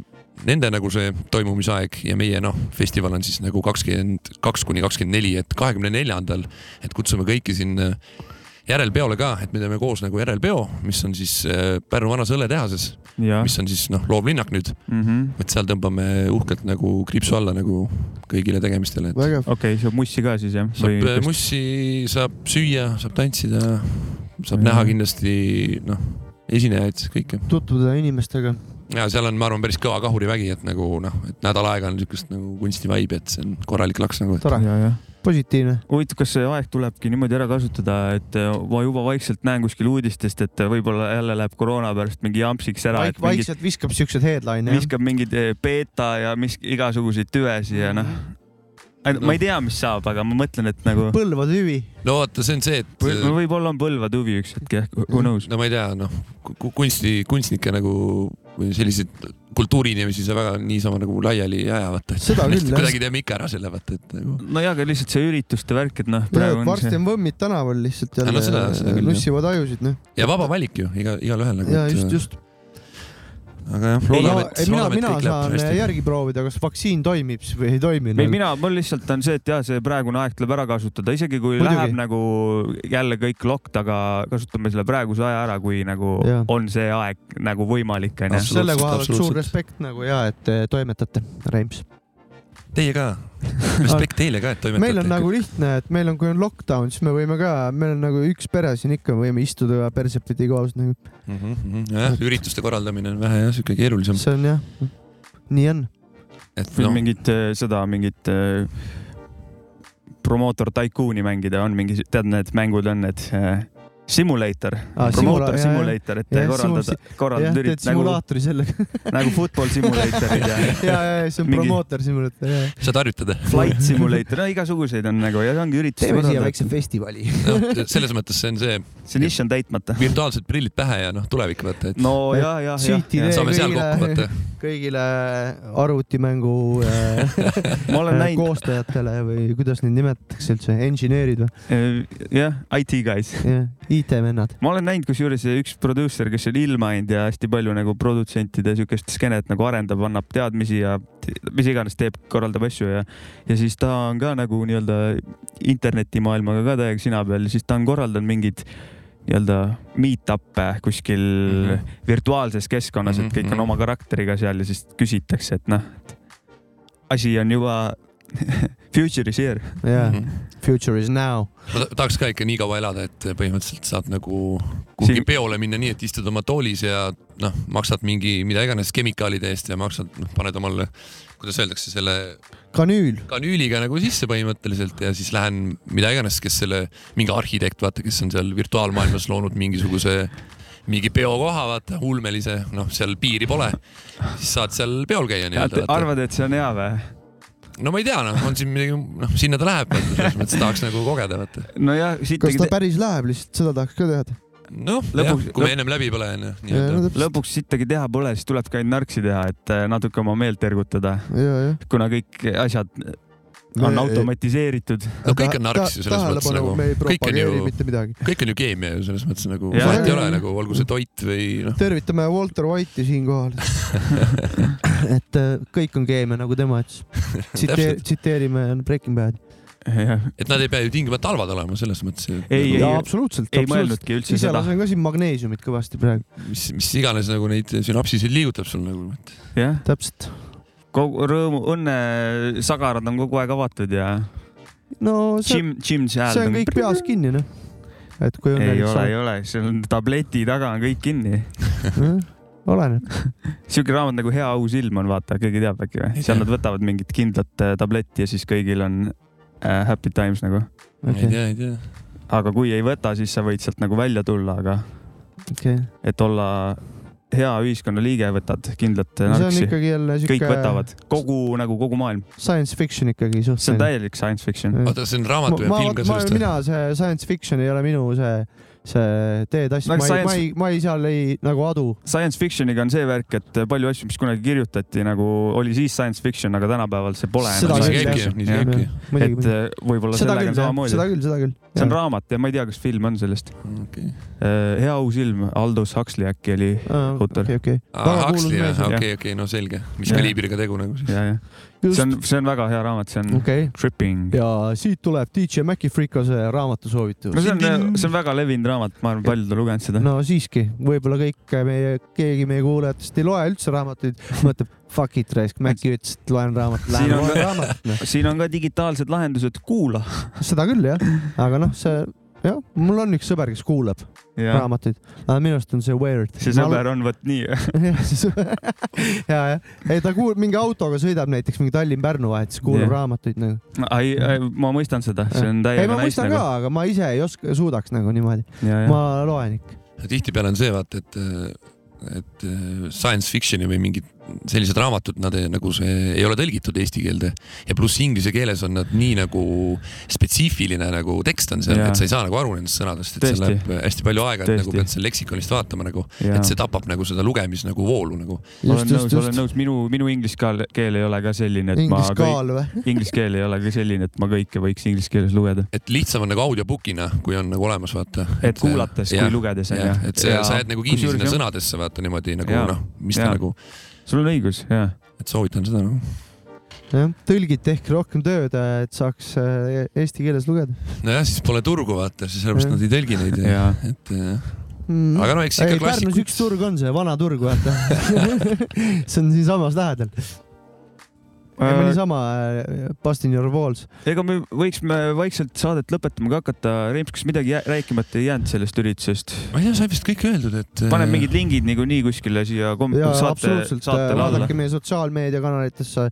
[SPEAKER 6] nende nagu see toimumisaeg ja meie noh , festival on siis nagu kakskümmend kaks kuni kakskümmend neli , et kahekümne neljandal , et kutsume kõiki siin äh, järelpeole ka , et me teeme koos nagu järelpeo , mis on siis äh, Pärnu vanas õlletehases ,
[SPEAKER 5] jah ,
[SPEAKER 6] mis on siis noh , loovlinnak nüüd ,
[SPEAKER 5] Mhm.
[SPEAKER 6] et seal tõmbame uhkelt nagu kriipsu alla nagu kõigile tegemistele , et
[SPEAKER 4] vägev .
[SPEAKER 5] okei , saab mussi ka siis jah ?
[SPEAKER 6] saab äh, mussi , saab süüa , saab tantsida , saab
[SPEAKER 5] Jah.
[SPEAKER 6] näha kindlasti noh , esinejaid , kõike .
[SPEAKER 4] tutvuda inimestega .
[SPEAKER 6] ja seal on , ma arvan , päris kõva kahurivägi , et nagu noh , et nädal aega on niisugust nagu kunstivaibi , et see on korralik laks nagu .
[SPEAKER 4] tore ,
[SPEAKER 5] ja , jah .
[SPEAKER 4] positiivne .
[SPEAKER 5] huvitav , kas see aeg tulebki niimoodi ära kasutada , et ma juba vaikselt näen kuskil uudistest , et äh, võib-olla jälle läheb koroona pärast mingi jampsiks ära , et mingid,
[SPEAKER 4] vaikselt viskab siukseid headline'e .
[SPEAKER 5] viskab mingeid eh, beeta ja mis igasuguseid tüvesid ja noh . ma
[SPEAKER 6] Noh.
[SPEAKER 5] ei tea , mis saab , aga ma mõtlen , et nagu
[SPEAKER 4] Põlva tüvi .
[SPEAKER 6] no vaata , see on see , et
[SPEAKER 5] või-
[SPEAKER 4] äh,
[SPEAKER 5] no võib-olla on Põlva tüvi üks hetk jah , who knows .
[SPEAKER 6] no ma ei tea , noh , kunsti , kunstnikke nagu või selliseid kultuuriinimesi sa väga niisama nagu laiali ei aja , vaata . (laughs)
[SPEAKER 4] Seda küll, jah.
[SPEAKER 6] kuidagi teeme ikka ära selle , vaata , et nagu .
[SPEAKER 5] nojah , aga lihtsalt see ürituste värk , et noh , praegu on
[SPEAKER 4] varsti
[SPEAKER 5] see
[SPEAKER 4] on võmmid tänaval lihtsalt
[SPEAKER 6] Ah,
[SPEAKER 4] jälle
[SPEAKER 6] no seda- seda küll, jah.
[SPEAKER 4] nussivad ajusid , noh .
[SPEAKER 6] ja vaba valik ju iga , igalühel nagu .
[SPEAKER 4] ja just ,. just .
[SPEAKER 6] aga jah ,
[SPEAKER 4] mina
[SPEAKER 6] loodame , et , loodame , et
[SPEAKER 4] mina
[SPEAKER 6] kõik läheb
[SPEAKER 4] saan äh,
[SPEAKER 6] hästi .
[SPEAKER 4] järgi proovida , kas vaktsiin toimib s- või ei toimi .
[SPEAKER 5] ei , mina , mul lihtsalt on see , et jah , see praegune aeg tuleb ära kasutada , isegi kui
[SPEAKER 4] Muidugi.
[SPEAKER 5] Muidugi. läheb nagu jälle kõik lokt , aga kasutame selle praeguse aja ära , kui nagu ja.
[SPEAKER 4] Jah.
[SPEAKER 5] on see aeg nagu võimalik , onju .
[SPEAKER 6] Absoluutselt,
[SPEAKER 4] selle koha pealt suur
[SPEAKER 6] absoluutselt.
[SPEAKER 4] respekt nagu ja , et eh, toimetate , Reims .
[SPEAKER 6] Teie ka . Respekt teile ka , et toimetate .
[SPEAKER 4] meil on nagu lihtne , et meil on , kui on lockdown , siis me võime ka , meil on nagu üks pere siin ikka , võime istuda ja persepidi koos nagu ,
[SPEAKER 6] mm . -hmm. jah , ürituste korraldamine on vähe jah , sihuke keerulisem .
[SPEAKER 4] see on jah , nii on .
[SPEAKER 6] et
[SPEAKER 5] või no.
[SPEAKER 6] noh ,
[SPEAKER 5] mingit eh, seda , mingit eh, promootor taikuuni mängida on mingi , tead , need mängud on need eh, simulator
[SPEAKER 4] Aa,
[SPEAKER 5] ah, ,
[SPEAKER 4] simula-
[SPEAKER 5] promootor
[SPEAKER 4] jaa,
[SPEAKER 5] simulator , et
[SPEAKER 4] jaa,
[SPEAKER 5] korraldada ,
[SPEAKER 4] jah ,
[SPEAKER 5] korraldada
[SPEAKER 4] teed
[SPEAKER 5] ürit- nagu ,
[SPEAKER 4] simulaatori sellega .
[SPEAKER 5] nagu football simulatorid
[SPEAKER 4] (laughs)
[SPEAKER 5] ja
[SPEAKER 4] ja , ja , ja see on
[SPEAKER 5] Mingi-
[SPEAKER 4] promootor simulaator , ja .
[SPEAKER 6] saad harjutada .
[SPEAKER 5] flight simulator , no igasuguseid on nagu ja see ongi üritus . see
[SPEAKER 4] festivali .
[SPEAKER 6] noh, selles mõttes see on see
[SPEAKER 5] nišš on täitmata .
[SPEAKER 6] virtuaalsed prillid pähe ja noh , tulevik vaata , et no.
[SPEAKER 5] no ja , ja ,
[SPEAKER 4] Süüti tee.
[SPEAKER 5] ja , ja
[SPEAKER 6] saame seal
[SPEAKER 4] kõigile-
[SPEAKER 6] kokku vaata .
[SPEAKER 4] (laughs) kõigile eh, arvutimängu äh,
[SPEAKER 5] ma olen näinud ,
[SPEAKER 4] koostajatele või kuidas neid nimetatakse üldse , engineer'id või ?
[SPEAKER 5] äh, jah , IT guys .
[SPEAKER 4] IT-vennad .
[SPEAKER 5] ma olen näinud , kusjuures üks produusser , kes on ilma jäänud ja hästi palju nagu produtsentide siukest skeenet nagu arendab , annab teadmisi ja te- mis iganes teeb , korraldab asju ja , ja siis ta on ka nagu nii-öelda internetimaailmaga ka täiega sina peal , siis ta on korraldanud mingeid nii-öelda meet-up'e kuskil mm -hmm. virtuaalses keskkonnas mm , -hmm. et kõik on oma karakteriga seal ja siis küsitakse , et noh , et asi on juba (laughs) future is here .
[SPEAKER 4] jaa ,
[SPEAKER 6] Mhm.
[SPEAKER 4] future is now .
[SPEAKER 6] ma ta- tahaks ka ikka nii kaua elada , et põhimõtteliselt saad nagu kuhugi
[SPEAKER 5] Siin-
[SPEAKER 6] Siin... peole minna nii , et istud oma toolis ja noh , maksad mingi mida iganes kemikaalide eest ja maksad , noh , paned omale , kuidas öeldakse , selle
[SPEAKER 4] kanüül .
[SPEAKER 6] kanüüliga nagu sisse põhimõtteliselt ja siis lähen mida iganes , kes selle , mingi arhitekt , vaata , kes on seal virtuaalmaailmas loonud mingisuguse , mingi peokoha , vaata , ulmelise , noh , seal piiri pole , siis saad seal peol käia nii-öelda .
[SPEAKER 5] arvad , et see on hea või ?
[SPEAKER 6] no ma ei tea , noh , on siin midagi , noh , sinna ta läheb , selles mõttes tahaks nagu kogeda , vaata .
[SPEAKER 5] nojah , siit
[SPEAKER 4] kas ta päris läheb lihtsalt , seda tahaks ka teada .
[SPEAKER 6] noh ,
[SPEAKER 5] Lõpuks-
[SPEAKER 6] kui me ennem läbi pole , noh, onju , nii-öelda .
[SPEAKER 4] ja ,
[SPEAKER 5] lõpuks sittagi teha pole , siis tulebki ainult narksi teha , et äh, natuke oma meelt ergutada ,
[SPEAKER 4] jah .
[SPEAKER 5] kuna kõik asjad on automatiseeritud .
[SPEAKER 6] no kõik on narks ju selles mõttes nagu ,
[SPEAKER 4] me ei
[SPEAKER 6] kõik on
[SPEAKER 4] propageeri
[SPEAKER 6] ju ,
[SPEAKER 4] mitte midagi .
[SPEAKER 6] kõik on ju keemia ju selles mõttes nagu ,
[SPEAKER 5] Jah.
[SPEAKER 6] vahet ei ole nagu , olgu see toit või noh , (laughs)
[SPEAKER 4] tervitame Walter White'i siinkohal . et äh, kõik on keemia , nagu (laughs) tema ütles . tsiteer- ,
[SPEAKER 6] Täpselt.
[SPEAKER 4] tsiteerime Breaking Badi .
[SPEAKER 5] ei ,
[SPEAKER 6] et nad ei pea ju tingimata halvad olema selles mõttes . nagu
[SPEAKER 5] Ei,
[SPEAKER 4] jaa , absoluutselt ,
[SPEAKER 5] ei
[SPEAKER 4] absoluutselt .
[SPEAKER 5] mõelnudki üldse
[SPEAKER 4] ise
[SPEAKER 5] seda .
[SPEAKER 4] lasen ka siin magneesiumit kõvasti praegu .
[SPEAKER 6] mis , mis iganes nagu neid sünapsiseid liigutab sul nagu ,
[SPEAKER 4] (laughs)
[SPEAKER 6] et
[SPEAKER 5] jah ,
[SPEAKER 4] täpselt .
[SPEAKER 5] kogu rõõmu , õnne sagarad on kogu aeg avatud ja
[SPEAKER 4] no see ,
[SPEAKER 5] Jim , Jim seal .
[SPEAKER 4] see on kõik peas kinni , noh . et kui on .
[SPEAKER 5] ei ole , ei ole , seal on tableti taga on kõik kinni .
[SPEAKER 4] ole . oleneb .
[SPEAKER 5] siuke raamat nagu Hea aus ilm on , vaata , keegi teab äkki
[SPEAKER 6] Ei
[SPEAKER 5] või ? seal
[SPEAKER 6] tea.
[SPEAKER 5] nad võtavad mingit kindlat äh, tabletti ja siis kõigil on äh, happy times nagu .
[SPEAKER 6] ma ei
[SPEAKER 4] okei ,
[SPEAKER 6] tea , ei tea .
[SPEAKER 5] aga kui ei võta , siis sa võid sealt nagu välja tulla , aga
[SPEAKER 4] okei .
[SPEAKER 5] et olla hea ühiskonnaliige , võtad kindlat
[SPEAKER 4] see on
[SPEAKER 5] narksi .
[SPEAKER 4] ikkagi jälle
[SPEAKER 5] kõik
[SPEAKER 4] siuke
[SPEAKER 5] võtavad , kogu nagu kogu maailm ,
[SPEAKER 4] science fiction ikkagi
[SPEAKER 5] see on
[SPEAKER 4] suhteliselt .
[SPEAKER 5] täielik science fiction .
[SPEAKER 6] oota , see on
[SPEAKER 4] ma
[SPEAKER 6] raamat või ,
[SPEAKER 4] ma
[SPEAKER 6] on film ka , sellest või ?
[SPEAKER 4] mina see science fiction ei ole minu see , see teetass
[SPEAKER 5] No
[SPEAKER 4] no, , ma ei ,
[SPEAKER 5] Nagu science-
[SPEAKER 4] ma ei , ma ei seal ei nagu adu .
[SPEAKER 5] Science fiction'iga on see värk , et palju asju , mis kunagi kirjutati , nagu oli siis science fiction , aga tänapäeval see pole
[SPEAKER 4] Seda
[SPEAKER 5] enam
[SPEAKER 6] nii see
[SPEAKER 4] küll,
[SPEAKER 6] käibki
[SPEAKER 4] jah. ,
[SPEAKER 6] nii see käibki .
[SPEAKER 5] et
[SPEAKER 4] muidugi ,
[SPEAKER 5] äh, võib-olla
[SPEAKER 4] seda
[SPEAKER 5] sellega
[SPEAKER 4] küll
[SPEAKER 5] on , samamoodi
[SPEAKER 4] seda . küll , seda küll .
[SPEAKER 5] see on raamat ja ma ei tea , kas film on sellest .
[SPEAKER 6] okei ,
[SPEAKER 5] hea uus ilm , Aldous Huxley äkki oli autor.
[SPEAKER 4] okei , okei .
[SPEAKER 6] Huxley jah ,
[SPEAKER 5] jah.
[SPEAKER 6] okei , okei , no selge , mis
[SPEAKER 5] Jah.
[SPEAKER 6] kaliibriga tegu nagu siis .
[SPEAKER 5] ja , ja see on , see on väga hea raamat , see on
[SPEAKER 4] okei ,
[SPEAKER 5] Tripping .
[SPEAKER 4] ja siit tuleb DJ Maci Fricose raamatusoovitus
[SPEAKER 5] no see on , äh, see on väga levinud raamat , ma arvan , paljud on lugenud seda .
[SPEAKER 4] no siiski , võib-olla kõik äh, meie , keegi meie kuulajatest ei loe üldse raamatuid , mõtleb fuck it raisk , Maci ütles , et loen raamatut , lähen
[SPEAKER 5] Siin on-
[SPEAKER 4] loen raamatut noh.
[SPEAKER 5] (laughs) siin on ka digitaalsed lahendused , kuula .
[SPEAKER 4] seda küll jah , aga noh , see jah , mul on üks sõber , kes kuulab raamatuid , aga minu arust on see weird .
[SPEAKER 5] see sõber on vot nii .
[SPEAKER 4] (laughs) ja , ja , ei ta kuulab , mingi autoga sõidab näiteks mingi Tallinn-Pärnu vahet , siis kuulab
[SPEAKER 5] Jah.
[SPEAKER 4] yeah. raamatuid nagu .
[SPEAKER 5] ei , ma mõistan seda , see on
[SPEAKER 4] ei ,
[SPEAKER 5] täiega
[SPEAKER 4] ma
[SPEAKER 5] nice
[SPEAKER 4] mõistan
[SPEAKER 5] nagu
[SPEAKER 4] ka ., aga ma ise ei oska , suudaks nagu niimoodi , ma loen ikka .
[SPEAKER 6] tihtipeale on see vaata , et , et science fiction'i või mingid sellised raamatud , nad ei, nagu see ei ole tõlgitud eesti keelde ja pluss inglise keeles on nad nii nagu spetsiifiline nagu tekst on seal ,
[SPEAKER 5] Jaa.
[SPEAKER 6] et sa ei saa nagu aru nendest sõnadest , et
[SPEAKER 5] Tõesti.
[SPEAKER 6] seal läheb hästi palju aega , et nagu
[SPEAKER 5] Tõesti.
[SPEAKER 6] pead seal leksikonist vaatama nagu ,
[SPEAKER 5] Jaa.
[SPEAKER 6] et see tapab nagu seda lugemis nagu voolu nagu .
[SPEAKER 5] olen nõus , olen nõus , minu , minu inglise kaal- keel ei ole ka selline , et ma
[SPEAKER 4] inglise
[SPEAKER 5] kõik ,
[SPEAKER 4] kaal (laughs) või ?
[SPEAKER 5] inglise keel ei ole ka selline , et ma kõike võiks inglise keeles lugeda .
[SPEAKER 6] et lihtsam on nagu audiobook'ina , kui on nagu olemas , vaata .
[SPEAKER 5] et kuulates kui
[SPEAKER 6] jah,
[SPEAKER 5] lugedes on ju .
[SPEAKER 6] et see, sa jääd nagu kinni sinna . sõnadesse , vaata niimoodi nagu
[SPEAKER 5] Jaa.
[SPEAKER 6] noh , mis
[SPEAKER 5] Jaa.
[SPEAKER 6] ta nagu ,
[SPEAKER 5] sul on õigus , jaa .
[SPEAKER 6] et soovitan seda nagu .
[SPEAKER 4] jah , tõlgid tehke rohkem tööd , et saaks äh, eesti keeles lugeda
[SPEAKER 6] nojah , siis pole turgu vaata , siis sellepärast
[SPEAKER 4] Jah.
[SPEAKER 6] nad ei tõlgi neid ja,
[SPEAKER 5] jaa ,
[SPEAKER 6] et jah.
[SPEAKER 4] mm.
[SPEAKER 6] aga no eks ikka
[SPEAKER 4] ei , Pärnus üks
[SPEAKER 6] klassik .
[SPEAKER 4] (laughs) turg on see , vana turg , vaata . see on siinsamas lähedal . käime niisama äh, Boston Your Walls .
[SPEAKER 5] ega me võiksime vaikselt saadet lõpetama ka hakata . Reims , kas midagi jää- rääkimata ei jäänud sellest üritusest ?
[SPEAKER 6] ma ei tea , sai vist kõik öeldud , et . äh,
[SPEAKER 5] paneme mingid lingid niikuinii kuskile siia kom-
[SPEAKER 4] ja
[SPEAKER 5] saate ,
[SPEAKER 4] absoluutselt ,
[SPEAKER 5] saatele alla .
[SPEAKER 4] vaadake meie sotsiaalmeediakanalitesse ,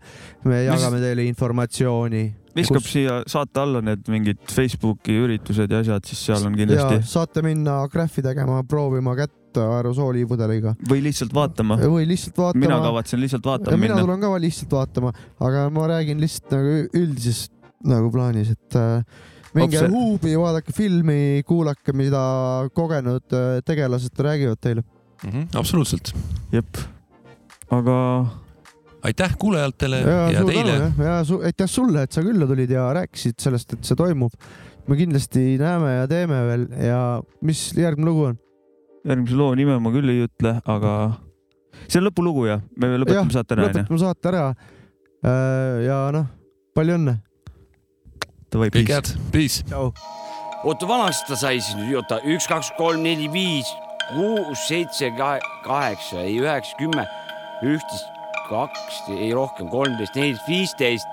[SPEAKER 4] me jagame teile informatsiooni .
[SPEAKER 5] viskab siia saate alla need mingid Facebooki üritused ja asjad , siis seal on
[SPEAKER 4] ja
[SPEAKER 5] kindlasti .
[SPEAKER 4] saate minna graffi tegema , proovima kätt aerosoolipudeliga
[SPEAKER 5] või lihtsalt vaatama .
[SPEAKER 4] või lihtsalt
[SPEAKER 5] Noh. mina
[SPEAKER 4] vaatama .
[SPEAKER 5] kavatsen lihtsalt
[SPEAKER 4] ja
[SPEAKER 5] vaatama
[SPEAKER 4] mina
[SPEAKER 5] minna .
[SPEAKER 4] tulen ka lihtsalt vaatama , aga ma räägin lihtsalt nagu ü- üldises nagu plaanis , et äh, minge
[SPEAKER 5] Obse-
[SPEAKER 4] huubi , vaadake filmi , kuulake , mida kogenud äh, tegelased räägivad teile .
[SPEAKER 6] Mhm, absoluutselt .
[SPEAKER 5] jep . aga
[SPEAKER 6] aitäh kuulajatele ja,
[SPEAKER 4] ja
[SPEAKER 6] ja
[SPEAKER 4] suur
[SPEAKER 6] teile
[SPEAKER 4] tänu . jah , ja su- aitäh sulle , et sa külla tulid ja rääkisid sellest , et see toimub . me kindlasti näeme ja teeme veel ja mis järgmine lugu on ?
[SPEAKER 5] järgmise loo nime ma küll ei ütle , aga see on lõpulugu ja me
[SPEAKER 4] Jah,
[SPEAKER 5] lõpetame saate ära onju .
[SPEAKER 4] lõpetame saate ära . ja noh , palju õnne .
[SPEAKER 5] Davai ,
[SPEAKER 6] kõike
[SPEAKER 5] peace .
[SPEAKER 6] head , peace .
[SPEAKER 4] tšau .
[SPEAKER 10] oota , vanaks ta sai siis nüüd , oota , üks , kaks , kolm , neli , viis , kuus , seitse , kaheksa , ei üheksa , kümme , üksteist , kaks , ei rohkem , kolmteist , neliteist , viisteist ,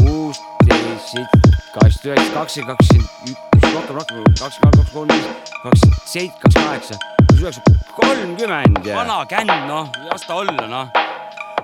[SPEAKER 10] kuusteist , seitse , kaheksa , üheksa , kakskümmend , kakskümmend üks , rohkem , rohkem , kakskümmend kaks , kolmteist , kakskümmend seitse , kakskümmend kaheksa , üheksa , kolmkümmend . vana känd , noh , las ta olla , noh .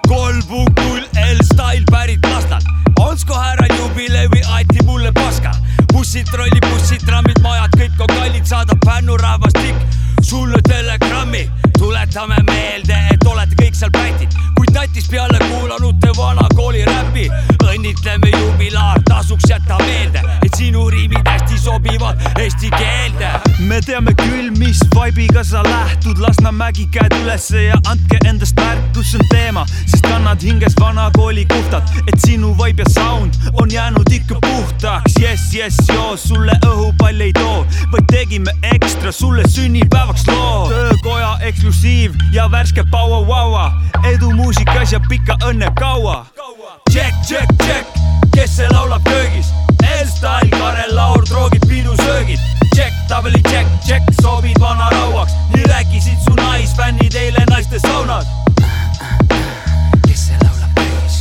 [SPEAKER 10] kolm punkt null L-Style pärit Lasnalt . Onsko härra jubile või aeti mulle paska . bussid , trollid , bussid , trammid , majad , kõik on kallid , saadab Pärnu rahvastik sulle telegrammi . tuletame meelde , et olete kõik seal pätid , kuid tatis peale kuulanud te vana kooli räpi . õnnitleme jubilaar , tasuks jätta meelde , et sinu riimid hästi sobivad eesti keelde
[SPEAKER 11] me teame küll , mis vaibiga sa lähtud , Lasnamägi käed ülesse ja andke endast märku , see on teema , sest kannad hinges vana kooli puhtalt , et sinu vaib ja sound on jäänud ikka puhtaks . jess , jess , joo , sulle õhupall ei too , vaid tegime ekstra sulle sünnipäevaks loo . töökoja eksklusiiv ja värske pauauaua , edu muusikas ja pikka õnne kaua . tšekk , tšekk , tšekk , kes see laulab köögis ? L-Style , Karel Laur , droogid , pidusöögid , tšekk , tabeli tšekk , tšekk , sobid vanarauaks , nii rääkisid su naisfännid eile naiste saunas .
[SPEAKER 10] kes see laulab köögis ?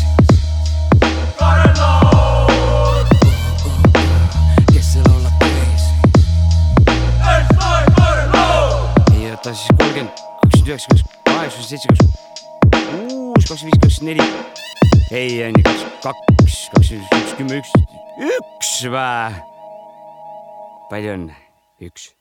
[SPEAKER 11] Karel Laur ,
[SPEAKER 10] kes see laulab köögis ?
[SPEAKER 11] L-Style , Karel Laur .
[SPEAKER 10] ei oota siis kolmkümmend , kakskümmend üheksa , kakskümmend kaheksa , seitse , kakskümmend kuus , kakskümmend viis , kakskümmend neli . ei , on ju , kakskümmend kaks , kakskümmend üks , kümme , üks , üks vä ? palju õnne , üks